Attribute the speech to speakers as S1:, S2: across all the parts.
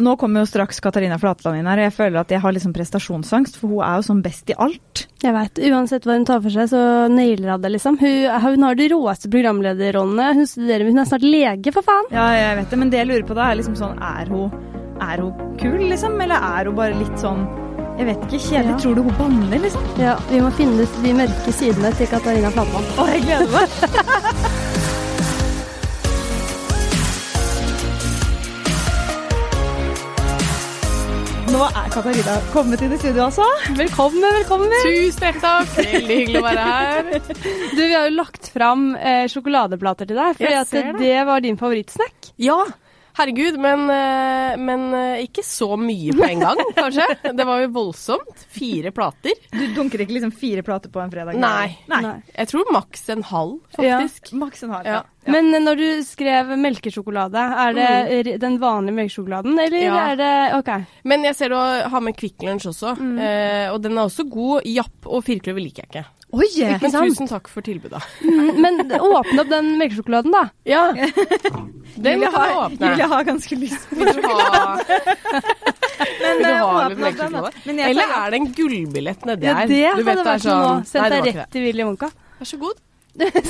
S1: nå kommer jo straks Katarina Flatland inn her, og jeg føler at jeg har liksom prestasjonsangst, for hun er jo sånn best i alt.
S2: Jeg veit. Uansett hva hun tar for seg, så nailer hun det, liksom. Hun, hun har de råeste programlederrollene. Hun studerer, hun er snart lege, for faen.
S1: Ja, jeg vet det, men det jeg lurer på da, er liksom sånn Er hun, er hun kul, liksom? Eller er hun bare litt sånn Jeg vet ikke, kjedelig.
S2: Ja.
S1: Tror du hun banner, liksom?
S2: Ja, vi må finne ut de mørke sidene til Katarina Flatland.
S1: Å, jeg gleder meg. Nå er Katarina kommet inn i studio, altså.
S2: Velkommen, velkommen.
S3: Tusen hjertelig takk! Veldig hyggelig å være her.
S2: Du, vi har jo lagt fram eh, sjokoladeplater til deg, fordi
S3: Jeg
S2: at
S3: ser
S2: det.
S3: det.
S2: var din favorittsnack.
S3: Ja, herregud, men, eh, men eh, ikke så mye på en gang, kanskje. Det var jo voldsomt. Fire plater.
S1: Du dunker ikke liksom fire plater på en fredag?
S3: Nei.
S1: Nei.
S2: Nei.
S3: Jeg tror maks en halv,
S2: Ja.
S3: faktisk.
S1: Maks en halv.
S3: Ja. Mm.
S2: Men eh, når du skrev melkesjokolade, er det r- den vanlige melkesjokoladen, eller
S3: Ja.
S2: er det OK.
S3: Men jeg ser du har med Kvikk Lunsj også, eh, og den er også god. Japp og firkløver liker jeg ikke.
S1: Oi!
S3: Men
S2: sant?
S3: tusen takk for tilbudet.
S2: Mm, Men åpne opp den melkesjokoladen, da.
S3: Ja. Den
S1: Julia
S3: kan jeg
S1: har,
S3: åpne.
S1: Julia har ganske lyst på
S3: Vil du ha,
S1: Men,
S3: vil du
S1: eh,
S3: ha
S1: åpne
S3: litt
S1: opp den, da.
S3: melkesjokolade?
S1: Men jeg
S3: Eller
S1: tar-
S3: er det en gullbillett nedi
S2: Ja,
S3: her?
S2: det
S3: Du
S2: hadde
S3: vet, det er
S2: vært sånn,
S3: sånn-
S2: noe. Sendt
S3: Nei, det var
S2: deg
S3: ikke
S2: rett til Willy Wonka.
S3: det. Vær så god.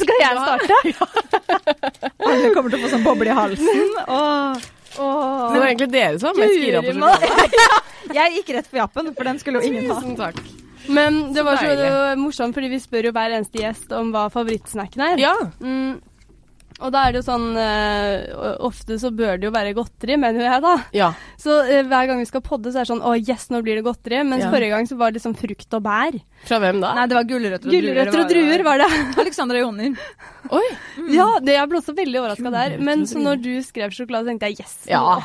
S2: Skal jeg starte?
S1: Alle kommer til å få sånn boble i halsen. Åh.
S3: Så det var egentlig dere som var mest gira på
S2: Guri
S3: sjokolade.
S1: Jeg gikk rett for jappen, for den skulle jo ingen ta.
S3: Tusen takk.
S2: Men det
S3: Så
S2: var så
S3: deilig.
S2: det var morsomt, fordi vi spør jo hver eneste gjest om hva favorittsnacken er.
S3: Ja.
S2: Mm. Og da er det jo sånn eh, Ofte så bør det jo være godteri, mener jo jeg, da.
S3: ja.
S2: Så eh, hver gang vi skal podde, så er det sånn Å, yes, nå blir det godteri. Mens
S3: Ja.
S2: forrige gang så var det liksom frukt og bær.
S3: Fra hvem da?
S1: Nei, det var gulrøtter og druer.
S2: Gulrøtter og druer var det.
S1: Alexandra Joner.
S3: Oi.
S2: Ja, det jeg ble også veldig overraska der.
S3: Gulrøtter
S2: Men
S3: Mm. og
S2: så når du skrev sjokolade, tenkte jeg yes, nå
S3: Ja.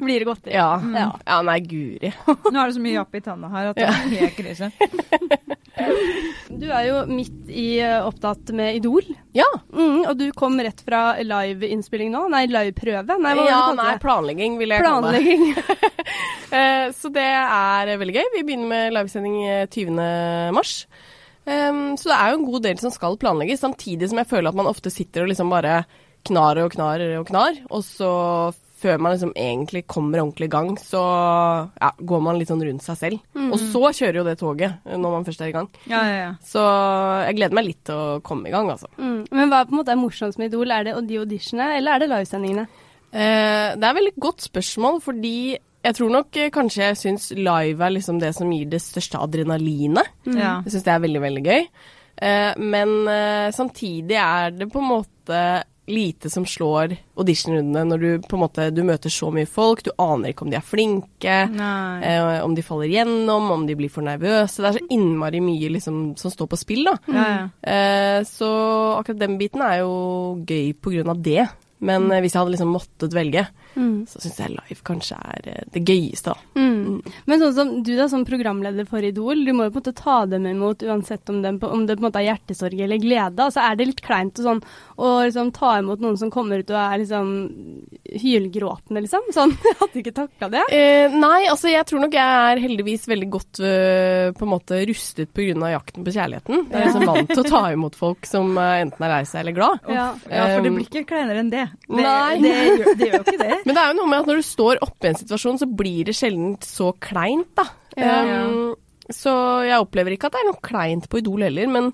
S2: blir det godteri.
S3: Ja.
S2: Ja.
S3: Mm. ja. Nei, guri.
S1: Nå er det så mye japp i tanna her at det er helt krise.
S2: Du er jo midt i eh, opptatt med Idol,
S3: Ja.
S2: mm, og du kom rett fra live-innspilling nå. Nei, live-prøve. Nei, hva var det
S3: ja,
S2: du kalte
S3: nei,
S2: det?
S3: planlegging vil jeg kalle det.
S2: Planlegging.
S3: Eh, så det er eh, veldig gøy. Vi begynner med livesending eh, 20. mars. Em, så det er jo en god del som skal planlegges, samtidig som jeg føler at man ofte sitter og liksom bare knar og knar og knar, og så før man liksom egentlig kommer ordentlig i gang, så ja, går man litt sånn rundt seg selv.
S2: Mm.
S3: Og så kjører jo det toget eh, når man først er i gang.
S1: Ja, ja, ja.
S3: Så jeg gleder meg litt til å komme i gang, altså.
S2: Mm. Men hva er på en måte er morsomst med Idol? Er det de auditionene, eller er det livesendingene?
S3: Eh, det er et veldig godt spørsmål, fordi jeg tror nok eh, kanskje jeg syns live er liksom det som gir det største adrenalinet.
S1: ja.
S3: Jeg syns det er veldig, veldig gøy. Eh, men eh, samtidig er det på en måte lite som slår auditionrundene når du på en måte du møter så mye folk, du aner ikke om de er flinke.
S1: Nei.
S3: eh, om de faller gjennom, om de blir for nervøse. Det er så innmari mye liksom, som står på spill, da.
S1: Ja, ja.
S3: Eh, Så akkurat den biten er jo gøy på grunn av det. Men eh, hvis jeg hadde liksom måttet velge,
S2: Mm.
S3: så syns jeg live kanskje er eh, det gøyeste, da.
S2: Men sånn som du da, som programleder for Idol, du må jo på en måte ta dem imot uansett om, dem på, om det på en måte er hjertesorg eller glede. Altså er det litt kleint å sånn, å liksom ta imot noen som kommer ut og er liksom hylgråtende, liksom? Sånn, jeg hadde ikke takla det.
S3: Eh, nei, altså jeg tror nok jeg er heldigvis veldig godt eh, på en måte rustet pga. jakten på kjærligheten. Jeg er liksom vant til å ta imot folk som eh, enten er lei seg eller glad.
S1: Ja. Eh,
S2: Ja.
S1: ja, for det blir ikke kleinere enn det. Det,
S3: Nei.
S1: det, gjør, det gjør jo ikke det.
S3: Men det er jo noe med at når du står oppe i en situasjon, så blir det sjelden så kleint, da.
S2: Ja.
S3: Um, så jeg opplever ikke at det er noe kleint på Idol heller, men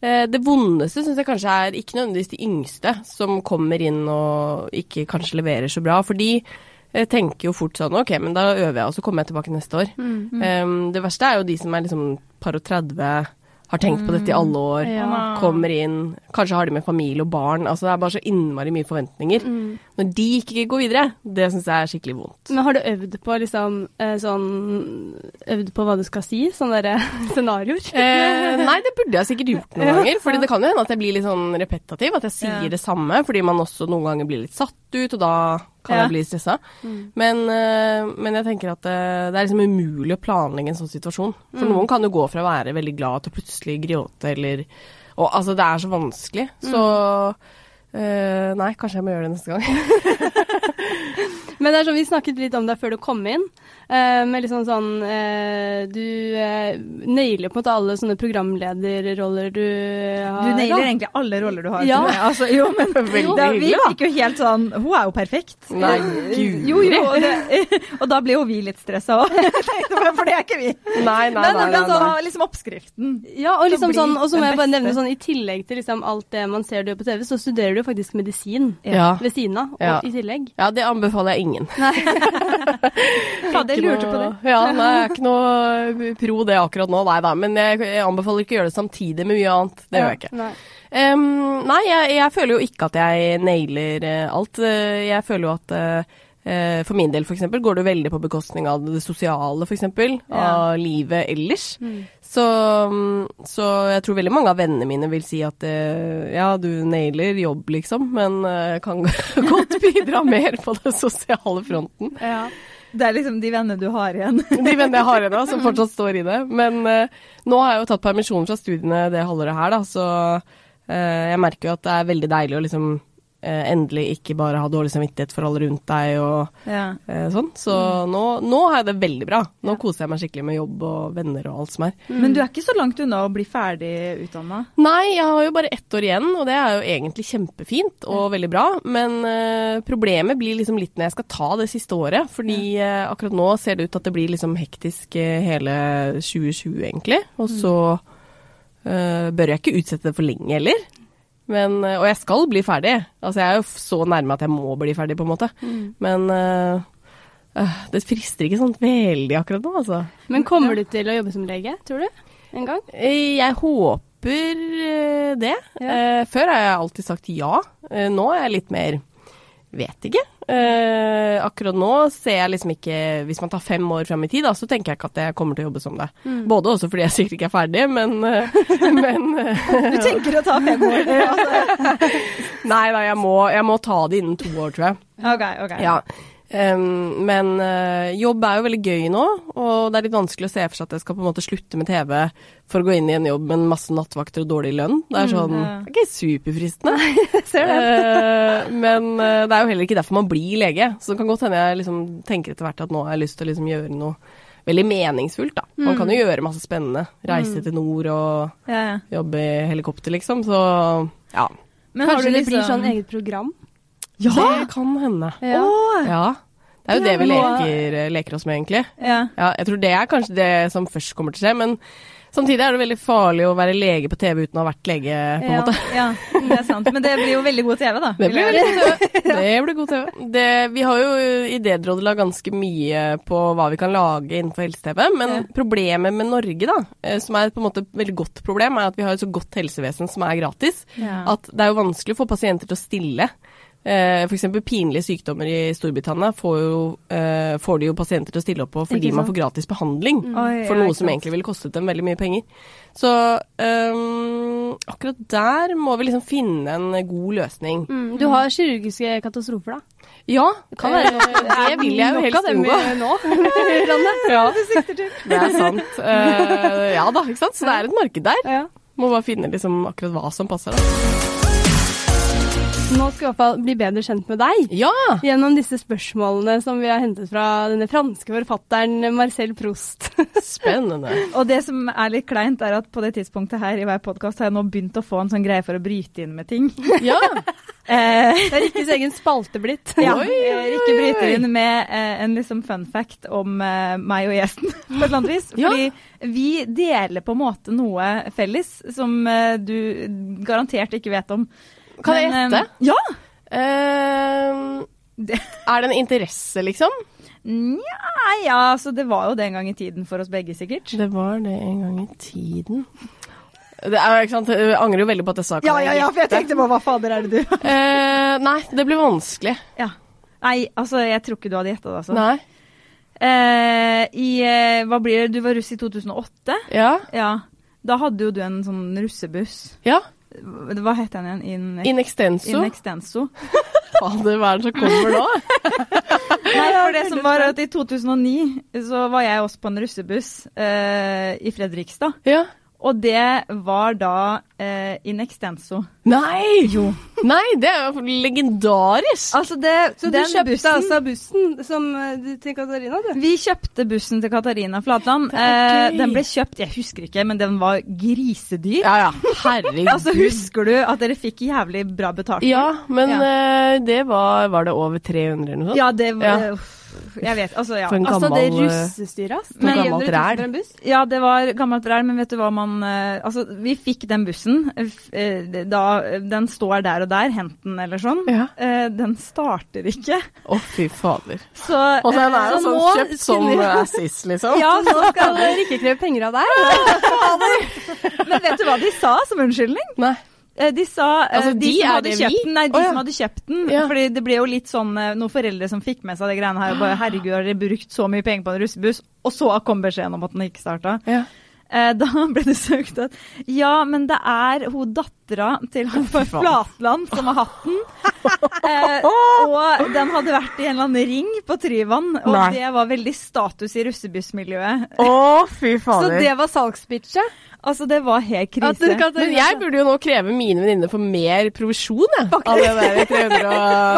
S3: eh, det vondeste syns jeg kanskje er ikke nødvendigvis de yngste som kommer inn og ikke kanskje leverer så bra, for de eh, tenker jo fort sånn OK, men da øver jeg, og så kommer jeg tilbake neste år.
S2: Mm.
S3: Um, det verste er jo de som er liksom par og 30, har tenkt på dette i alle år,
S2: Ja.
S3: kommer inn, kanskje har de med familie og barn. Altså det er bare så innmari mye forventninger.
S1: Mm.
S3: Når de ikke går videre, det syns jeg er skikkelig vondt.
S2: Men har du øvd på liksom eh, sånn Øvd på hva du skal si? Sånne der scenarioer?
S3: Eh, nei, det burde jeg sikkert gjort noen ganger. Fordi det kan jo hende at jeg blir litt sånn repetativ, at jeg sier
S1: Ja.
S3: det samme. Fordi man også noen ganger blir litt satt ut, og da kan
S1: Ja. Mm.
S3: jeg bli stressa. Men, eh, men jeg tenker at eh, det er liksom umulig å planlegge en sånn situasjon. For
S1: Mm.
S3: noen kan jo gå fra å være veldig glad til plutselig gråte eller og, Altså, det er så vanskelig.
S1: Mm.
S3: Så eh, nei, kanskje jeg må gjøre det neste gang.
S2: Men det er sånn, vi snakket litt om det før du kom inn. eh, med liksom sånn eh, Du eh, nailer på en måte alle sånne programlederroller du eh, har.
S1: Du nailer
S2: da.
S1: egentlig alle roller du har.
S2: Ja.
S1: tror jeg. Eh, Altså, jo, men
S3: Veldig
S1: da, vi
S3: hyggelig, da.
S1: fikk jo helt sånn Hun er jo perfekt. Eh,
S3: Nei, guri.
S1: jo, jo, og, det, og da ble jo vi litt stressa òg. For det er ikke vi.
S3: Nei, nei,
S1: Men
S3: nei. nei,
S1: det
S3: nei.
S1: var liksom oppskriften.
S2: Ja, og
S1: Så
S2: liksom
S1: bli
S2: sånn, og så må
S1: den
S2: jeg bare nevne
S1: beste.
S2: sånn, i tillegg til liksom alt det man ser du gjør på TV, så studerer du jo faktisk medisin
S3: Ja.
S2: ved siden av, og
S3: Ja.
S2: i tillegg.
S3: ja, det anbefaler jeg ingen.
S1: Fader, jeg lurte på det.
S3: Ja, nei, jeg er ikke noe pro det akkurat nå, nei da. Men jeg, jeg anbefaler ikke å gjøre det samtidig med mye annet. Det gjør jeg ikke.
S2: Nei.
S3: Em, nei, jeg, jeg føler jo ikke at jeg nailer eh, alt. Eh, Jeg føler jo at eh, eh, for min del, for eksempel, går det jo veldig på bekostning av det sosiale, for eksempel. Av livet ellers. Så, mm, så jeg tror veldig mange av vennene mine vil si at eh, ja, du nailer jobb, liksom, men eh, kan godt bidra mer på den sosiale fronten.
S2: Ja.
S1: Det er liksom de vennene du har igjen.
S3: De vennene jeg har ennå, som fortsatt står i det. Men eh, nå har jeg jo tatt permisjon fra studiene det halvåret her, da, så eh, jeg merker jo at det er veldig deilig å liksom eh, endelig ikke bare ha dårlig samvittighet for alle rundt deg og
S1: Ja.
S3: eh, sånn. Så nå, nå har jeg det veldig bra. Nå koser jeg meg skikkelig med jobb og venner og alt som er.
S1: Men du er ikke så langt unna å bli ferdig utdanna.
S3: Nei, jeg har jo bare ett år igjen, og det er jo egentlig kjempefint og veldig bra. Men eh, problemet blir liksom litt når jeg skal ta det siste året, fordi eh, akkurat nå ser det ut til at det blir liksom hektisk eh, hele 2020, egentlig. Og så eh, bør jeg ikke utsette det for lenge heller. Men, eh, og jeg skal bli ferdig. Altså, jeg er jo f- så nærme at jeg må bli ferdig, på en måte. Men eh, øh, det frister ikke sånn veldig akkurat nå, altså.
S2: Men kommer du til å jobbe som lege, tror du? En gang?
S3: Eh, Jeg håper eh, det. Eh, Før har jeg alltid sagt ja. Eh, Nå er jeg litt mer vet ikke. Eh, akkurat nå ser jeg liksom ikke Hvis man tar fem år fram i tid, da, så tenker jeg ikke at jeg kommer til å jobbe som det. Både også fordi jeg sikkert ikke er ferdig, men, eh, men eh,
S1: Du tenker å ta fem år? Altså.
S3: Nei, nei, jeg må, jeg må ta det innen to år, tror jeg.
S1: OK, OK.
S3: Ja. Ehm, men eh, jobb er jo veldig gøy nå, og det er litt vanskelig å se for seg at jeg skal på en måte slutte med TV for å gå inn i en jobb med masse nattvakter og dårlig lønn. Det er sånn
S1: ja.
S3: Det er ikke superfristende. Eh, men eh, det er jo heller ikke derfor man blir lege. Så det kan godt hende jeg liksom tenker etter hvert at nå har jeg lyst til å liksom gjøre noe veldig meningsfullt, da. Man kan jo gjøre masse spennende. Reise til nord og
S1: Ja, ja.
S3: jobbe i helikopter, liksom. Så ja.
S1: Men har
S2: Kanskje
S1: du
S2: det blir
S1: liksom-
S2: sånn eget program?
S3: Ja! Eh, Det kan hende.
S2: Ja.
S1: Åh!
S3: Ja. Det er jo
S2: Ja,
S3: det vi
S2: men nå-
S3: leker, eh, leker oss med, egentlig.
S1: Ja.
S3: Ja, jeg tror det er kanskje det som først kommer til å skje, men samtidig er det veldig farlig å være lege på TV uten å ha vært lege, på en
S2: Ja.
S3: måte.
S1: ja, det er sant. Men det blir jo veldig god TV, da.
S3: Det
S1: vil
S3: blir
S1: jeg-
S3: veldig god TV. Det blir god TV. Det, vi har jo i Idédrådet ganske mye på hva vi kan lage innenfor helse-TV, men
S1: Ja.
S3: problemet med Norge, da, eh, som er på en måte et veldig godt problem, er at vi har et så godt helsevesen som er gratis,
S1: Ja.
S3: at det er jo vanskelig å få pasienter til å stille. Eh, for eksempel pinlige sykdommer i Storbritannia får, jo, eh, får de jo pasienter til å stille opp på fordi
S2: Ikke
S3: man
S2: sant?
S3: får gratis behandling
S1: Oi,
S3: for
S1: ja,
S3: noe
S1: ikke
S3: som
S1: sant.
S3: egentlig ville kostet dem veldig mye penger. Så øhm, akkurat der må vi liksom finne en god løsning.
S2: Mm, du har kirurgiske katastrofer, da?
S3: Ja, kan være.
S2: Eh,
S3: det vil jeg jo
S2: Nok av
S3: helst
S2: dem
S3: unngå.
S2: vi- nå.
S3: Ja, det er sant. Eh, ja da, ikke sant. Så det er et marked der.
S2: ja.
S3: Må bare finne liksom akkurat hva som passer. Da.
S2: Nå skal vi i hvert fall bli bedre kjent med deg.
S3: Ja!
S2: Gjennom disse spørsmålene som vi har hentet fra denne franske forfatteren Marcel Proust.
S3: Spennende.
S1: Og det som er litt kleint, er at på det tidspunktet her i hver podkast har jeg nå begynt å få en sånn greie for å bryte inn med ting.
S3: Ja.
S1: Eh,
S2: Det er Rikkes egen spalte blitt.
S1: ja.
S3: Oi, oi, oi,
S1: eh, Rikke bryter
S3: oi.
S1: inn med eh, en liksom fun fact om eh, meg og gjesten, på et eller annet vis.
S3: Ja.
S1: Fordi vi deler på en måte noe felles som eh, du garantert ikke vet om.
S3: Kan jeg
S1: Men,
S3: gjette?
S1: eh, Ja!
S3: Ehm,
S1: Det-
S3: er det en interesse, liksom?
S1: Nja, ja, så det var jo det en gang i tiden for oss begge, sikkert.
S3: Det var det en gang i tiden. Det er, jo, ikke sant? Jeg angrer jo veldig på at jeg sa kan jeg
S1: for jeg tenkte bare hva fader er det du
S3: Eh, nei, det blir vanskelig.
S1: Ja. Nei, altså, jeg tror ikke du hadde gjetta det, altså.
S3: Nei.
S1: Eh, I eh, Hva blir det? Du var russ i 2008?
S3: Ja.
S1: Ja. Da hadde jo du en sånn russebuss.
S3: ja.
S1: Hva het den igjen? In,
S3: In extenso.
S1: in extenso.
S3: Fader, hva er det som kommer nå?
S1: Nei, for det som var at i 2009 så var jeg også på en russebuss eh, i Fredrikstad.
S3: ja.
S1: Og det var da eh, in extenso.
S3: Nei! Nei, det er jo legendarisk.
S1: Altså det,
S2: Så
S1: den
S2: du kjøpte
S1: bussen,
S2: altså bussen som, eh, du- til Katarina, du?
S1: Vi kjøpte bussen til Katarina Flatland.
S3: er
S1: Eh,
S3: gøy.
S1: den ble kjøpt, jeg husker ikke, men den var grisedyr.
S3: Ja, ja. Herregud.
S1: Altså, husker du at dere fikk jævlig bra betalt?
S3: ja, men
S1: Ja.
S3: eh, det var Var det over 300 eller noe sånt?
S1: Ja, det var
S3: Ja.
S1: uff, Jeg vet, altså ja.
S3: For en
S2: Altså, det
S3: gammel eh,
S2: russestyret, ass.
S3: Hvor gammelt det er?
S1: Ja, det var gammelt ræl, men vet du hva man eh, Altså, vi fikk den bussen. eh, f- eh, Da, eh, den står der og der, hent den eller sånn.
S3: Ja.
S1: Eh, den starter ikke.
S3: Å, fy fader.
S1: Så,
S3: Og den
S1: eh,
S3: er
S1: så
S3: altså
S1: nå
S3: kjøpt som
S1: skulle-
S3: assist, liksom.
S1: Ja, så skal
S2: Altså, Skal Rikke kreve penger av deg?
S1: Men vet du hva de sa som unnskyldning?
S3: Nei.
S1: Eh, De sa eh,
S3: Altså,
S1: de,
S3: de
S1: som
S3: er
S1: hadde
S3: det vi?
S1: kjøpt den, nei, de
S3: Å, ja.
S1: som hadde kjøpt den.
S3: Ja.
S1: Fordi det ble jo litt sånn eh, noen foreldre som fikk med seg det greiene her og
S3: Ah.
S1: bare herregud, har dere brukt så mye penger på en russebuss? Og så kom beskjeden om at den ikke starta.
S3: Ja.
S1: Eh, Da ble det søkt at ja, men det er hun dattera til han på Flatland som har hatt den. Eh, og den hadde vært i en eller annen ring på Tryvann, og
S3: Nei.
S1: det var veldig status i russebussmiljøet.
S3: Å, fy
S2: Så
S3: fader.
S2: det var salgspitchet?
S1: Altså, det var helt
S2: At du,
S1: krise.
S2: Katarina,
S3: Men jeg burde jo nå kreve mine venninner for mer provisjon, jeg. Av det der i 300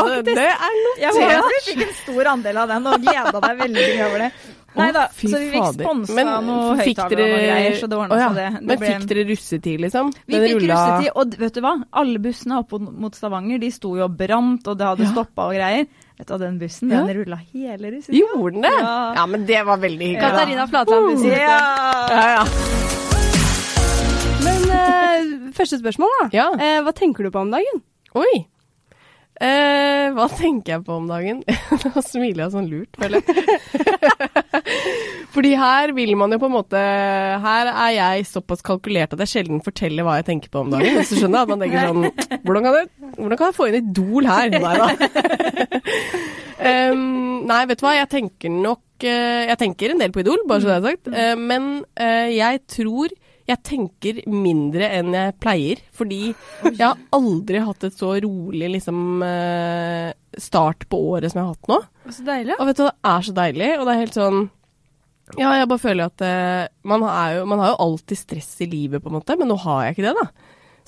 S3: og Det er
S1: Jeg håper at du fikk en stor andel av den og gleda deg veldig mye over det. Nei da,
S3: Å, fy
S1: så vi fikk
S3: fader.
S1: sponsa
S3: Men
S1: noe
S3: fikk
S1: høyttalere og noe
S3: dere-
S1: greier, så det ordna
S3: Å ja,
S1: seg, det. det.
S3: Men
S1: ble-
S3: fikk dere russetid, liksom?
S1: Vi
S3: Den
S1: fikk
S3: rulla-
S1: russetid, og vet du hva? Alle bussene opp mot Stavanger, de sto jo og brant, og det hadde
S3: Ja.
S1: stoppa og greier. Vet du hva, den bussen,
S3: Ja.
S1: den rulla hele russetida.
S3: Gjorde den det? Ja.
S1: Ja.
S3: men det var veldig hyggelig. da.
S2: Katarina Flatland-bussen.
S1: Ja.
S3: Ja, ja.
S2: Men eh, første spørsmål, da.
S3: ja.
S2: Eh, hva tenker du på om dagen?
S3: Oi. Eh, hva tenker jeg på om dagen? Nå smiler jeg sånn lurt, føler jeg. Fordi her vil man jo på en måte Her er jeg såpass kalkulert at jeg sjelden forteller hva jeg tenker på om dagen. Hvis du skjønner? At man tenker sånn Hvordan kan jeg, hvordan kan jeg få inn Idol her? Nei da. Em, nei, vet du hva. Jeg tenker nok eh, Jeg tenker en del på Idol, bare så det er sagt. Eh, men eh, jeg tror jeg tenker mindre enn jeg pleier, fordi jeg har aldri hatt et så rolig liksom, eh, start på året som jeg har hatt nå.
S2: Så deilig.
S3: Og vet du, hva, det er så deilig, og det er helt sånn Ja, jeg bare føler at eh, man, er jo, man har jo alltid stress i livet, på en måte, men nå har jeg ikke det, da.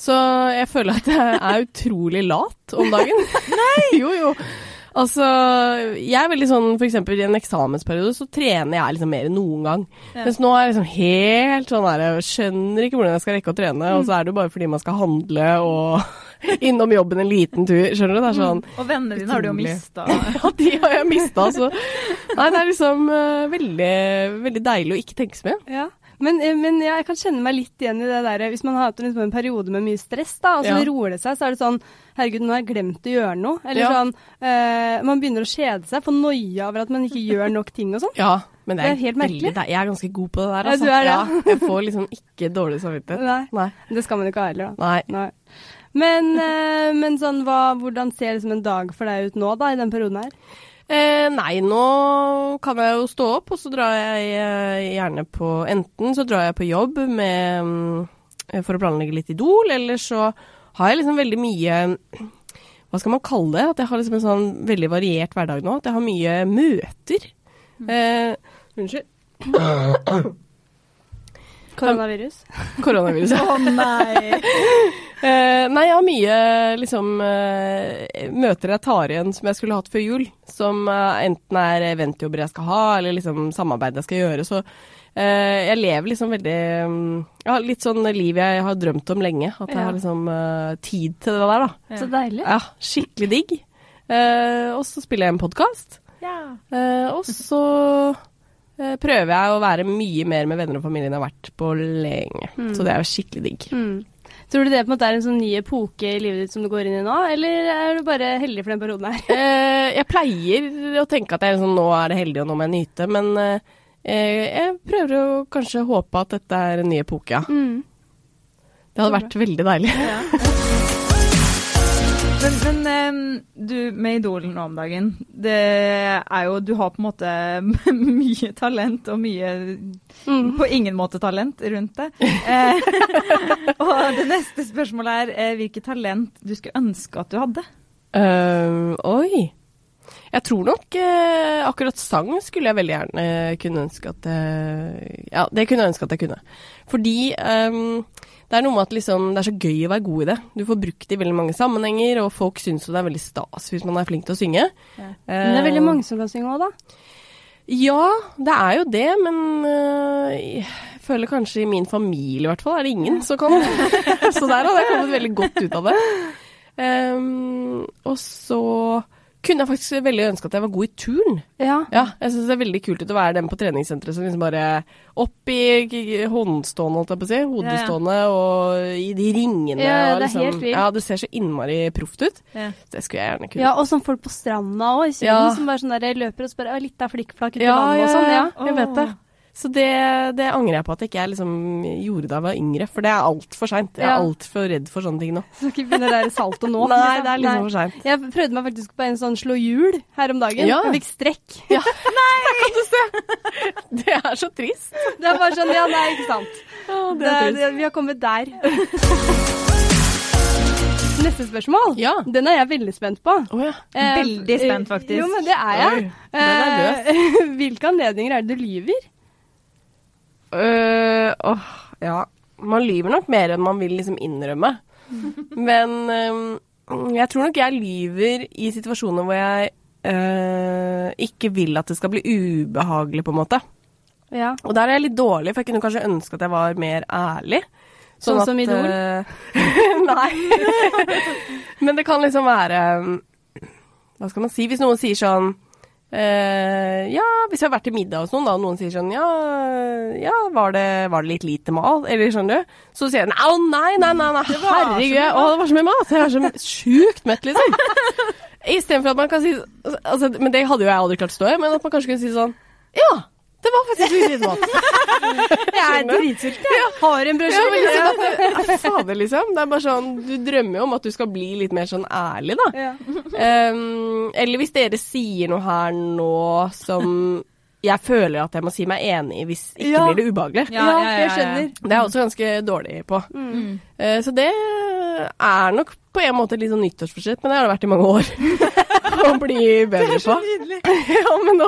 S3: Så jeg føler at jeg er utrolig lat om dagen. Nei! jo, jo. Altså, jeg er veldig sånn, for eksempel i en eksamensperiode så trener jeg liksom mer enn noen gang. Mens nå er jeg liksom helt sånn der, jeg skjønner ikke hvordan jeg skal rekke å trene, og så er det jo bare fordi man skal handle og innom jobben en liten tur, skjønner du?
S1: Mm.
S3: Det er sånn,
S1: Og vennene dine har du jo
S3: Utrolig.
S1: mista.
S3: ja, de har jeg mista, altså. Nei, det er liksom eh, veldig, veldig deilig å ikke tenke så mye.
S2: Ja. Men, eh, men ja, jeg kan kjenne meg litt igjen i det der hvis man har hatt liksom, en periode med mye stress, da, og så
S3: Ja.
S2: roer det seg, så er det sånn Herregud, nå har jeg glemt å gjøre noe. Eller
S3: Ja.
S2: sånn eh, Man begynner å kjede seg, få noia over at man ikke gjør nok ting og sånn.
S3: Ja, men det er,
S2: Det er helt
S3: veldig
S2: merkelig.
S3: dei- Jeg er ganske god på det der,
S2: Ja,
S3: altså.
S2: du er det.
S3: jeg får liksom ikke dårlig samvittighet.
S2: Nei.
S3: Nei.
S2: Det skal man ikke ha heller, da.
S3: Nei.
S2: Nei. Men, eh, men sånn, hva, hvordan ser liksom en dag for deg ut nå, da, i den perioden her?
S3: Eh, nei, nå kan jeg jo stå opp, og så drar jeg eh, gjerne på Enten så drar jeg på jobb med, mm, eh, for å planlegge litt Idol, eller så har jeg liksom veldig mye Hva skal man kalle det? At jeg har liksom en sånn veldig variert hverdag nå. At jeg har mye møter.
S2: Mm.
S3: Eh, unnskyld.
S2: Koronavirus?
S3: Koronaviruset.
S1: Å nei.
S3: Eh, nei, jeg har mye liksom, eh, møter jeg tar igjen som jeg skulle hatt før jul. Som eh, enten er eventjobber jeg skal ha, eller liksom samarbeid jeg skal gjøre. Så eh, jeg lever liksom veldig mm, ja, Litt sånn liv jeg har drømt om lenge. At jeg
S2: Ja.
S3: har liksom eh, tid til det der, da.
S2: Så deilig.
S3: Ja, skikkelig digg. Eh, og så spiller jeg en podkast.
S1: Ja.
S3: Eh, og så eh, prøver jeg å være mye mer med venner og familie enn jeg har vært på lenge. Så det er jo skikkelig digg.
S2: Mm. Tror du det på en måte er en sånn ny epoke i livet ditt som du går inn i nå, eller er du bare heldig for den perioden her?
S3: Eh, jeg pleier å tenke at jeg liksom, nå er det heldig, og nå må jeg nyte, men eh, eh, jeg prøver å kanskje håpe at dette er en ny epoke, ja.
S2: Mm.
S3: Det hadde vært veldig deilig.
S1: Men, men em, du med Idol nå om dagen, det er jo Du har på en måte mye talent og mye
S3: Eh,
S2: Mm.
S1: På ingen måte talent rundt det. Eh, og det neste spørsmålet er eh, hvilket talent du skulle ønske at du hadde.
S3: Eh, oi. Jeg tror nok eh, akkurat sang skulle jeg veldig gjerne kunne ønske at eh, Ja, det kunne jeg ønske at jeg kunne. Fordi ehm, det er noe med at liksom, det er så gøy å være god i det. Du får brukt det i veldig mange sammenhenger, og folk syns jo det er veldig stas hvis man er flink til å synge.
S2: Men det er veldig mange som kan synge òg, da.
S3: Ja, det er jo det, men øh, jeg føler kanskje i min familie i hvert fall er det ingen som kan. så der hadde jeg kommet veldig godt ut av det. Ehm, og så kunne jeg faktisk veldig ønske at jeg var god i turn.
S2: Ja.
S3: Ja, jeg syns det er veldig kult ut å være den på treningssenteret som liksom bare opp i k- håndstående, holdt jeg på å si, hodestående og i de ringene.
S2: Ja,
S3: og liksom
S2: det er helt vilt.
S3: Ja, det ser så innmari proft ut.
S1: Ja.
S3: Så det skulle jeg gjerne kunne.
S2: Ja, og sånn folk på stranda òg, i Syden,
S3: Ja.
S2: som bare sånn der løper og spør «Å, litt av flikkflakk uti vannet og sånn. Ja.
S3: Jeg
S1: Åh.
S3: vet det. Så det, det angrer jeg på at ikke jeg liksom gjorde da jeg var yngre, for det er altfor seint. Jeg er
S2: Ja.
S3: altfor redd for sånne ting nå.
S2: Skal ikke begynne der salto nå.
S3: Nei, det er liksom for seint.
S2: Jeg prøvde meg faktisk på en sånn slå hjul her om dagen.
S3: Ja.
S2: Jeg fikk strekk.
S3: Det er så trist.
S2: Det er bare sånn, ja, nei, ikke sant.
S3: det er
S2: Det- det- vi har kommet der. Neste spørsmål.
S3: Ja.
S2: Den er jeg veldig spent på.
S3: Å ja.
S2: Eh,
S1: Veldig spent, faktisk.
S2: Jo, men det er jeg.
S3: Oi, den er
S2: Eh, Hvilke anledninger er det du lyver?
S3: Øh, åh, ja. Man lyver nok mer enn man vil liksom innrømme. Men øhm, jeg tror nok jeg lyver i situasjoner hvor jeg øh, ikke vil at det skal bli ubehagelig, på en måte.
S2: Ja.
S3: Og der er jeg litt dårlig, for jeg kunne kanskje ønske at jeg var mer ærlig.
S2: Sånn som Idol?
S3: eh, nei. Men det kan liksom være um, Hva skal man si? Hvis noen sier sånn eh, ja, hvis jeg har vært til middag hos noen, da, og noen sier sånn Ja, ja var, det, var det litt lite mat? Eller skjønner du? Så sier jeg nei, å nei, nei, nei, nei
S1: var så
S3: herregud. Å, det var så mye mat! Jeg er så sjukt mett, liksom. Istedenfor at man kan si altså, Men det hadde jo jeg aldri klart å stå i, men at man kanskje kunne si sånn Ja, det var faktisk litt lite mat.
S2: Jeg er dritsulten. Jeg har en
S3: Ja, men
S2: brødskive.
S3: liksom at det- Fader, liksom. Det er bare sånn Du drømmer jo om at du skal bli litt mer sånn ærlig, da.
S2: Ja.
S3: Ehm, eller hvis dere sier noe her nå som jeg føler at jeg må si meg enig i, hvis ikke
S2: Ja.
S3: blir det ubehagelig.
S1: Ja, ja, ja, ja, ja.
S2: jeg skjønner.
S3: Det er jeg også ganske dårlig på. Eh, så det er nok på en måte litt sånn nyttårsforsett, men det har det vært i mange år. Å bli bedre på. Ja, men nå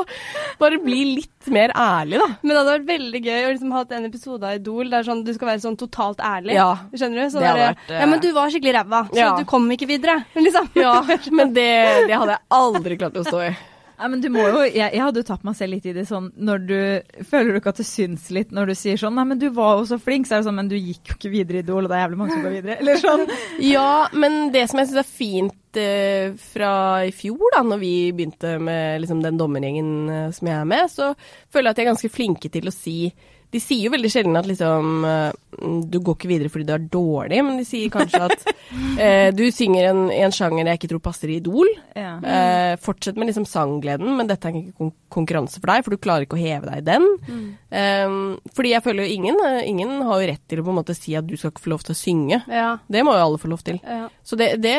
S3: bare bli litt mer ærlig, da.
S2: Men det hadde vært veldig gøy å liksom ha hatt en episode av Idol der sånn, du skal være sånn totalt ærlig.
S3: Ja.
S2: Skjønner du? Sånn
S3: Det hadde
S2: der,
S3: vært, eh,
S2: Ja, men du var skikkelig ræva, så
S3: Ja.
S2: du kom ikke videre. Liksom.
S3: Ja, men det, det hadde jeg aldri klart å stå i.
S1: Nei, men du må jo, jeg, jeg hadde jo tatt meg selv litt i det sånn når du Føler du ikke at det syns litt når du sier sånn Nei, men du var jo så flink, så er det sånn Men du gikk jo ikke videre i Idol, og det er jævlig mange som går videre. Eller sånn.
S3: Ja, men det som jeg syns er fint eh, fra i fjor, da når vi begynte med liksom, den dommergjengen eh, som jeg er med, så føler jeg at de er ganske flinke til å si De sier jo veldig sjelden at liksom eh, Du går ikke videre fordi du er dårlig, men de sier kanskje at eh, du synger en, en sjanger jeg ikke tror passer i Idol.
S1: Ja.
S3: Eh, fortsett med liksom sanggleden, men dette er ikke kon konkurranse for deg, for du klarer ikke å heve deg i den. Eh, fordi jeg føler jo ingen, eh, ingen har jo rett til å på en måte si at du skal ikke få lov til å synge.
S2: Ja.
S3: Det må jo alle få lov til.
S2: ja.
S3: Så det, det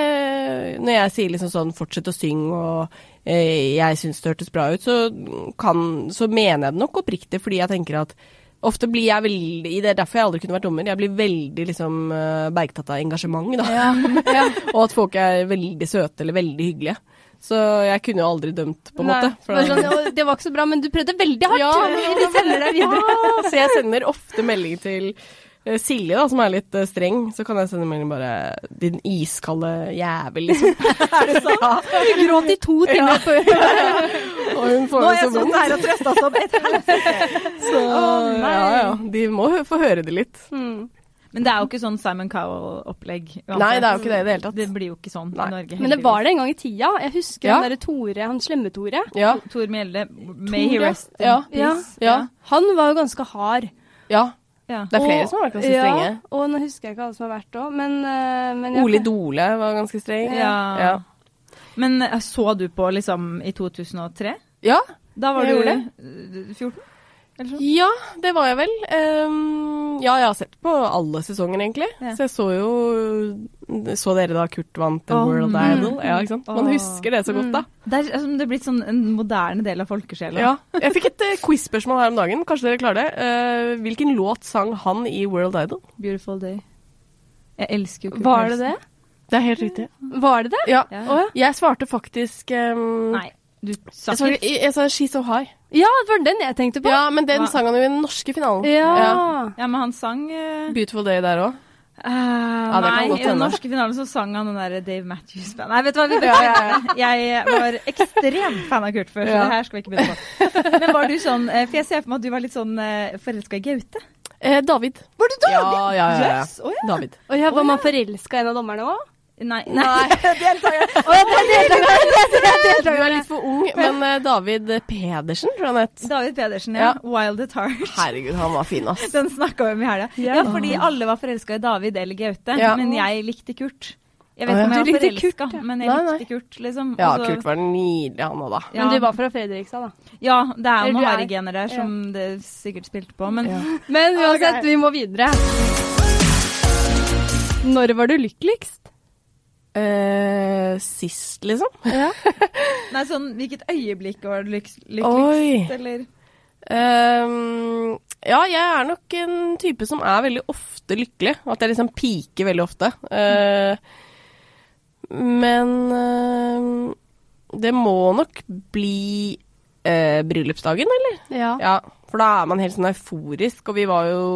S3: Når jeg sier liksom sånn 'fortsett å synge' og eh, 'jeg syns det hørtes bra ut', så, kan, så mener jeg det nok oppriktig, fordi jeg tenker at ofte blir jeg veldig Det er derfor jeg aldri kunne vært dommer. Jeg blir veldig liksom eh, bergtatt av engasjement, da. og at folk er veldig søte eller veldig hyggelige. Så jeg kunne jo aldri dømt, på en
S2: Nei,
S3: måte. for
S2: bare
S3: da-
S2: sånn, «Å, det var ikke så bra, men du prøvde veldig hardt. vi sender deg videre.
S3: Ja, så jeg sender ofte melding til eh, Silje, da, som er litt eh, streng, så kan jeg sende melding bare 'din iskalde jævel', liksom. er det sant?
S2: Du gråt i to timer på
S3: Og hun får
S1: Nå
S3: jo
S1: har
S3: så
S1: jeg
S3: vondt.
S1: sittet her og trøsta som et helsike.
S3: Så ja, ja. De må hø- få høre det litt.
S2: Mm.
S1: Men det er jo ikke sånn Simon Cowell-opplegg. uansett.
S3: Nei, det er jo ikke det i det hele tatt.
S1: Det blir jo ikke sånn
S3: Nei.
S1: i Norge.
S2: Men det var det en gang i tida. Jeg husker
S3: Ja.
S2: han derre Tore, han slemme Tore.
S3: Ja.
S1: Tor Mjelde, may he
S3: Tore,
S1: rest in
S3: ja,
S1: peace.
S3: ja,
S2: Han var jo ganske hard.
S3: ja.
S1: ja.
S3: Det er flere
S2: Og-
S3: som har vært ganske
S2: ja,
S3: strenge.
S2: Og nå husker jeg ikke alle som har vært òg, men, eh, men ja.
S3: Ole Dole var ganske streng.
S1: Ja.
S3: Ja.
S1: Men eh, så du på liksom i 2003?
S3: ja.
S1: Da var
S3: Jeg
S1: du
S3: gjorde
S1: eh, 14? Eller sånn?
S3: Ja, det var jeg vel. Ehm, ja, jeg har sett på alle sesonger, egentlig.
S1: Ja.
S3: Så jeg så jo Så dere da Kurt vant The
S1: Åh,
S3: World
S1: mm,
S3: Idol? Ja, ikke sant? Man
S1: åh.
S3: husker det så godt, da.
S1: Det er altså, det er blitt sånn en moderne del av folkesjela.
S3: Mm. Ja. Jeg fikk et eh, quiz-spørsmål her om dagen, kanskje dere klarer det. Eh, hvilken låt sang han i World Idol?
S1: Beautiful day. Jeg elsker jo Kurt
S2: Var det
S1: Nilsen.
S2: det?
S3: Det er helt riktig.
S2: Var det det?
S3: Ja.
S1: Ja.
S2: Å ja.
S3: Jeg svarte faktisk ehm,
S1: Nei. Du sa
S3: Jeg sa,
S1: ikke
S3: jeg, jeg sa She's So High.
S2: Ja, det var den jeg tenkte på.
S3: Ja, men den
S1: Hva?
S3: sang han jo i den norske finalen.
S2: Ja.
S1: Ja, men han sang eh,
S3: Beautiful Day der òg.
S1: eh,
S3: det kan
S1: Nei,
S3: godt
S1: i den
S3: hende.
S1: norske finalen så sang han den derre Dave Matthews-band. Nei, vet du hva, vi
S3: Ja, ja,
S1: Jeg var ekstrem fan av Kurt før, så
S3: Ja.
S1: det her skal vi ikke begynne på. Men var du sånn eh, For jeg ser for meg at du var litt sånn forelska i Gaute.
S3: Eh, David.
S1: Var du
S3: Ja, ja, ja. ja.
S1: Yes, å ja.
S3: David.
S2: Og jeg var man forelska i en av dommerne òg?
S1: Nei.
S3: Nei.
S1: Å, ja, det er det.
S3: Du er litt for ung, men eh, David Pedersen, tror jeg han het.
S1: David Pedersen, ja.
S3: Ja.
S1: Wild at Heart.
S3: Herregud, han var fin, ass.
S1: Den snakka vi om i helga.
S2: Ja.
S1: Ja. fordi alle var forelska i David eller Gaute,
S3: Ja.
S1: men jeg likte Kurt. Jeg
S3: Å,
S1: vet ikke om
S3: ja.
S2: Du
S1: jeg var
S2: likte Kurt,
S1: forelska,
S2: ja.
S1: men jeg
S3: Nei, nei.
S1: likte Kurt, liksom.
S3: Ja,
S1: Og så-
S3: Kurt var nydelig, han òg, da.
S1: Ja.
S2: Men du var fra Fredrikstad, da.
S1: Ja, det er
S2: Eller
S1: jo
S2: du
S1: noen
S2: er-
S1: harrygener der som det sikkert spilte på, men
S3: Ja.
S2: Men uansett,
S1: Ok.
S2: vi må videre. Når var du lykkeligst?
S3: Eh, sist, liksom.
S1: Nei, sånn hvilket øyeblikk var det lyks-
S3: Oi.
S1: lykkeligst, eller?
S3: Ehm, ja, jeg er nok en type som er veldig ofte lykkelig. At jeg liksom piker veldig ofte. Eh, men ehm, det må nok bli eh, bryllupsdagen, eller?
S2: Ja.
S3: Ja, for da er man helt sånn euforisk, og vi var jo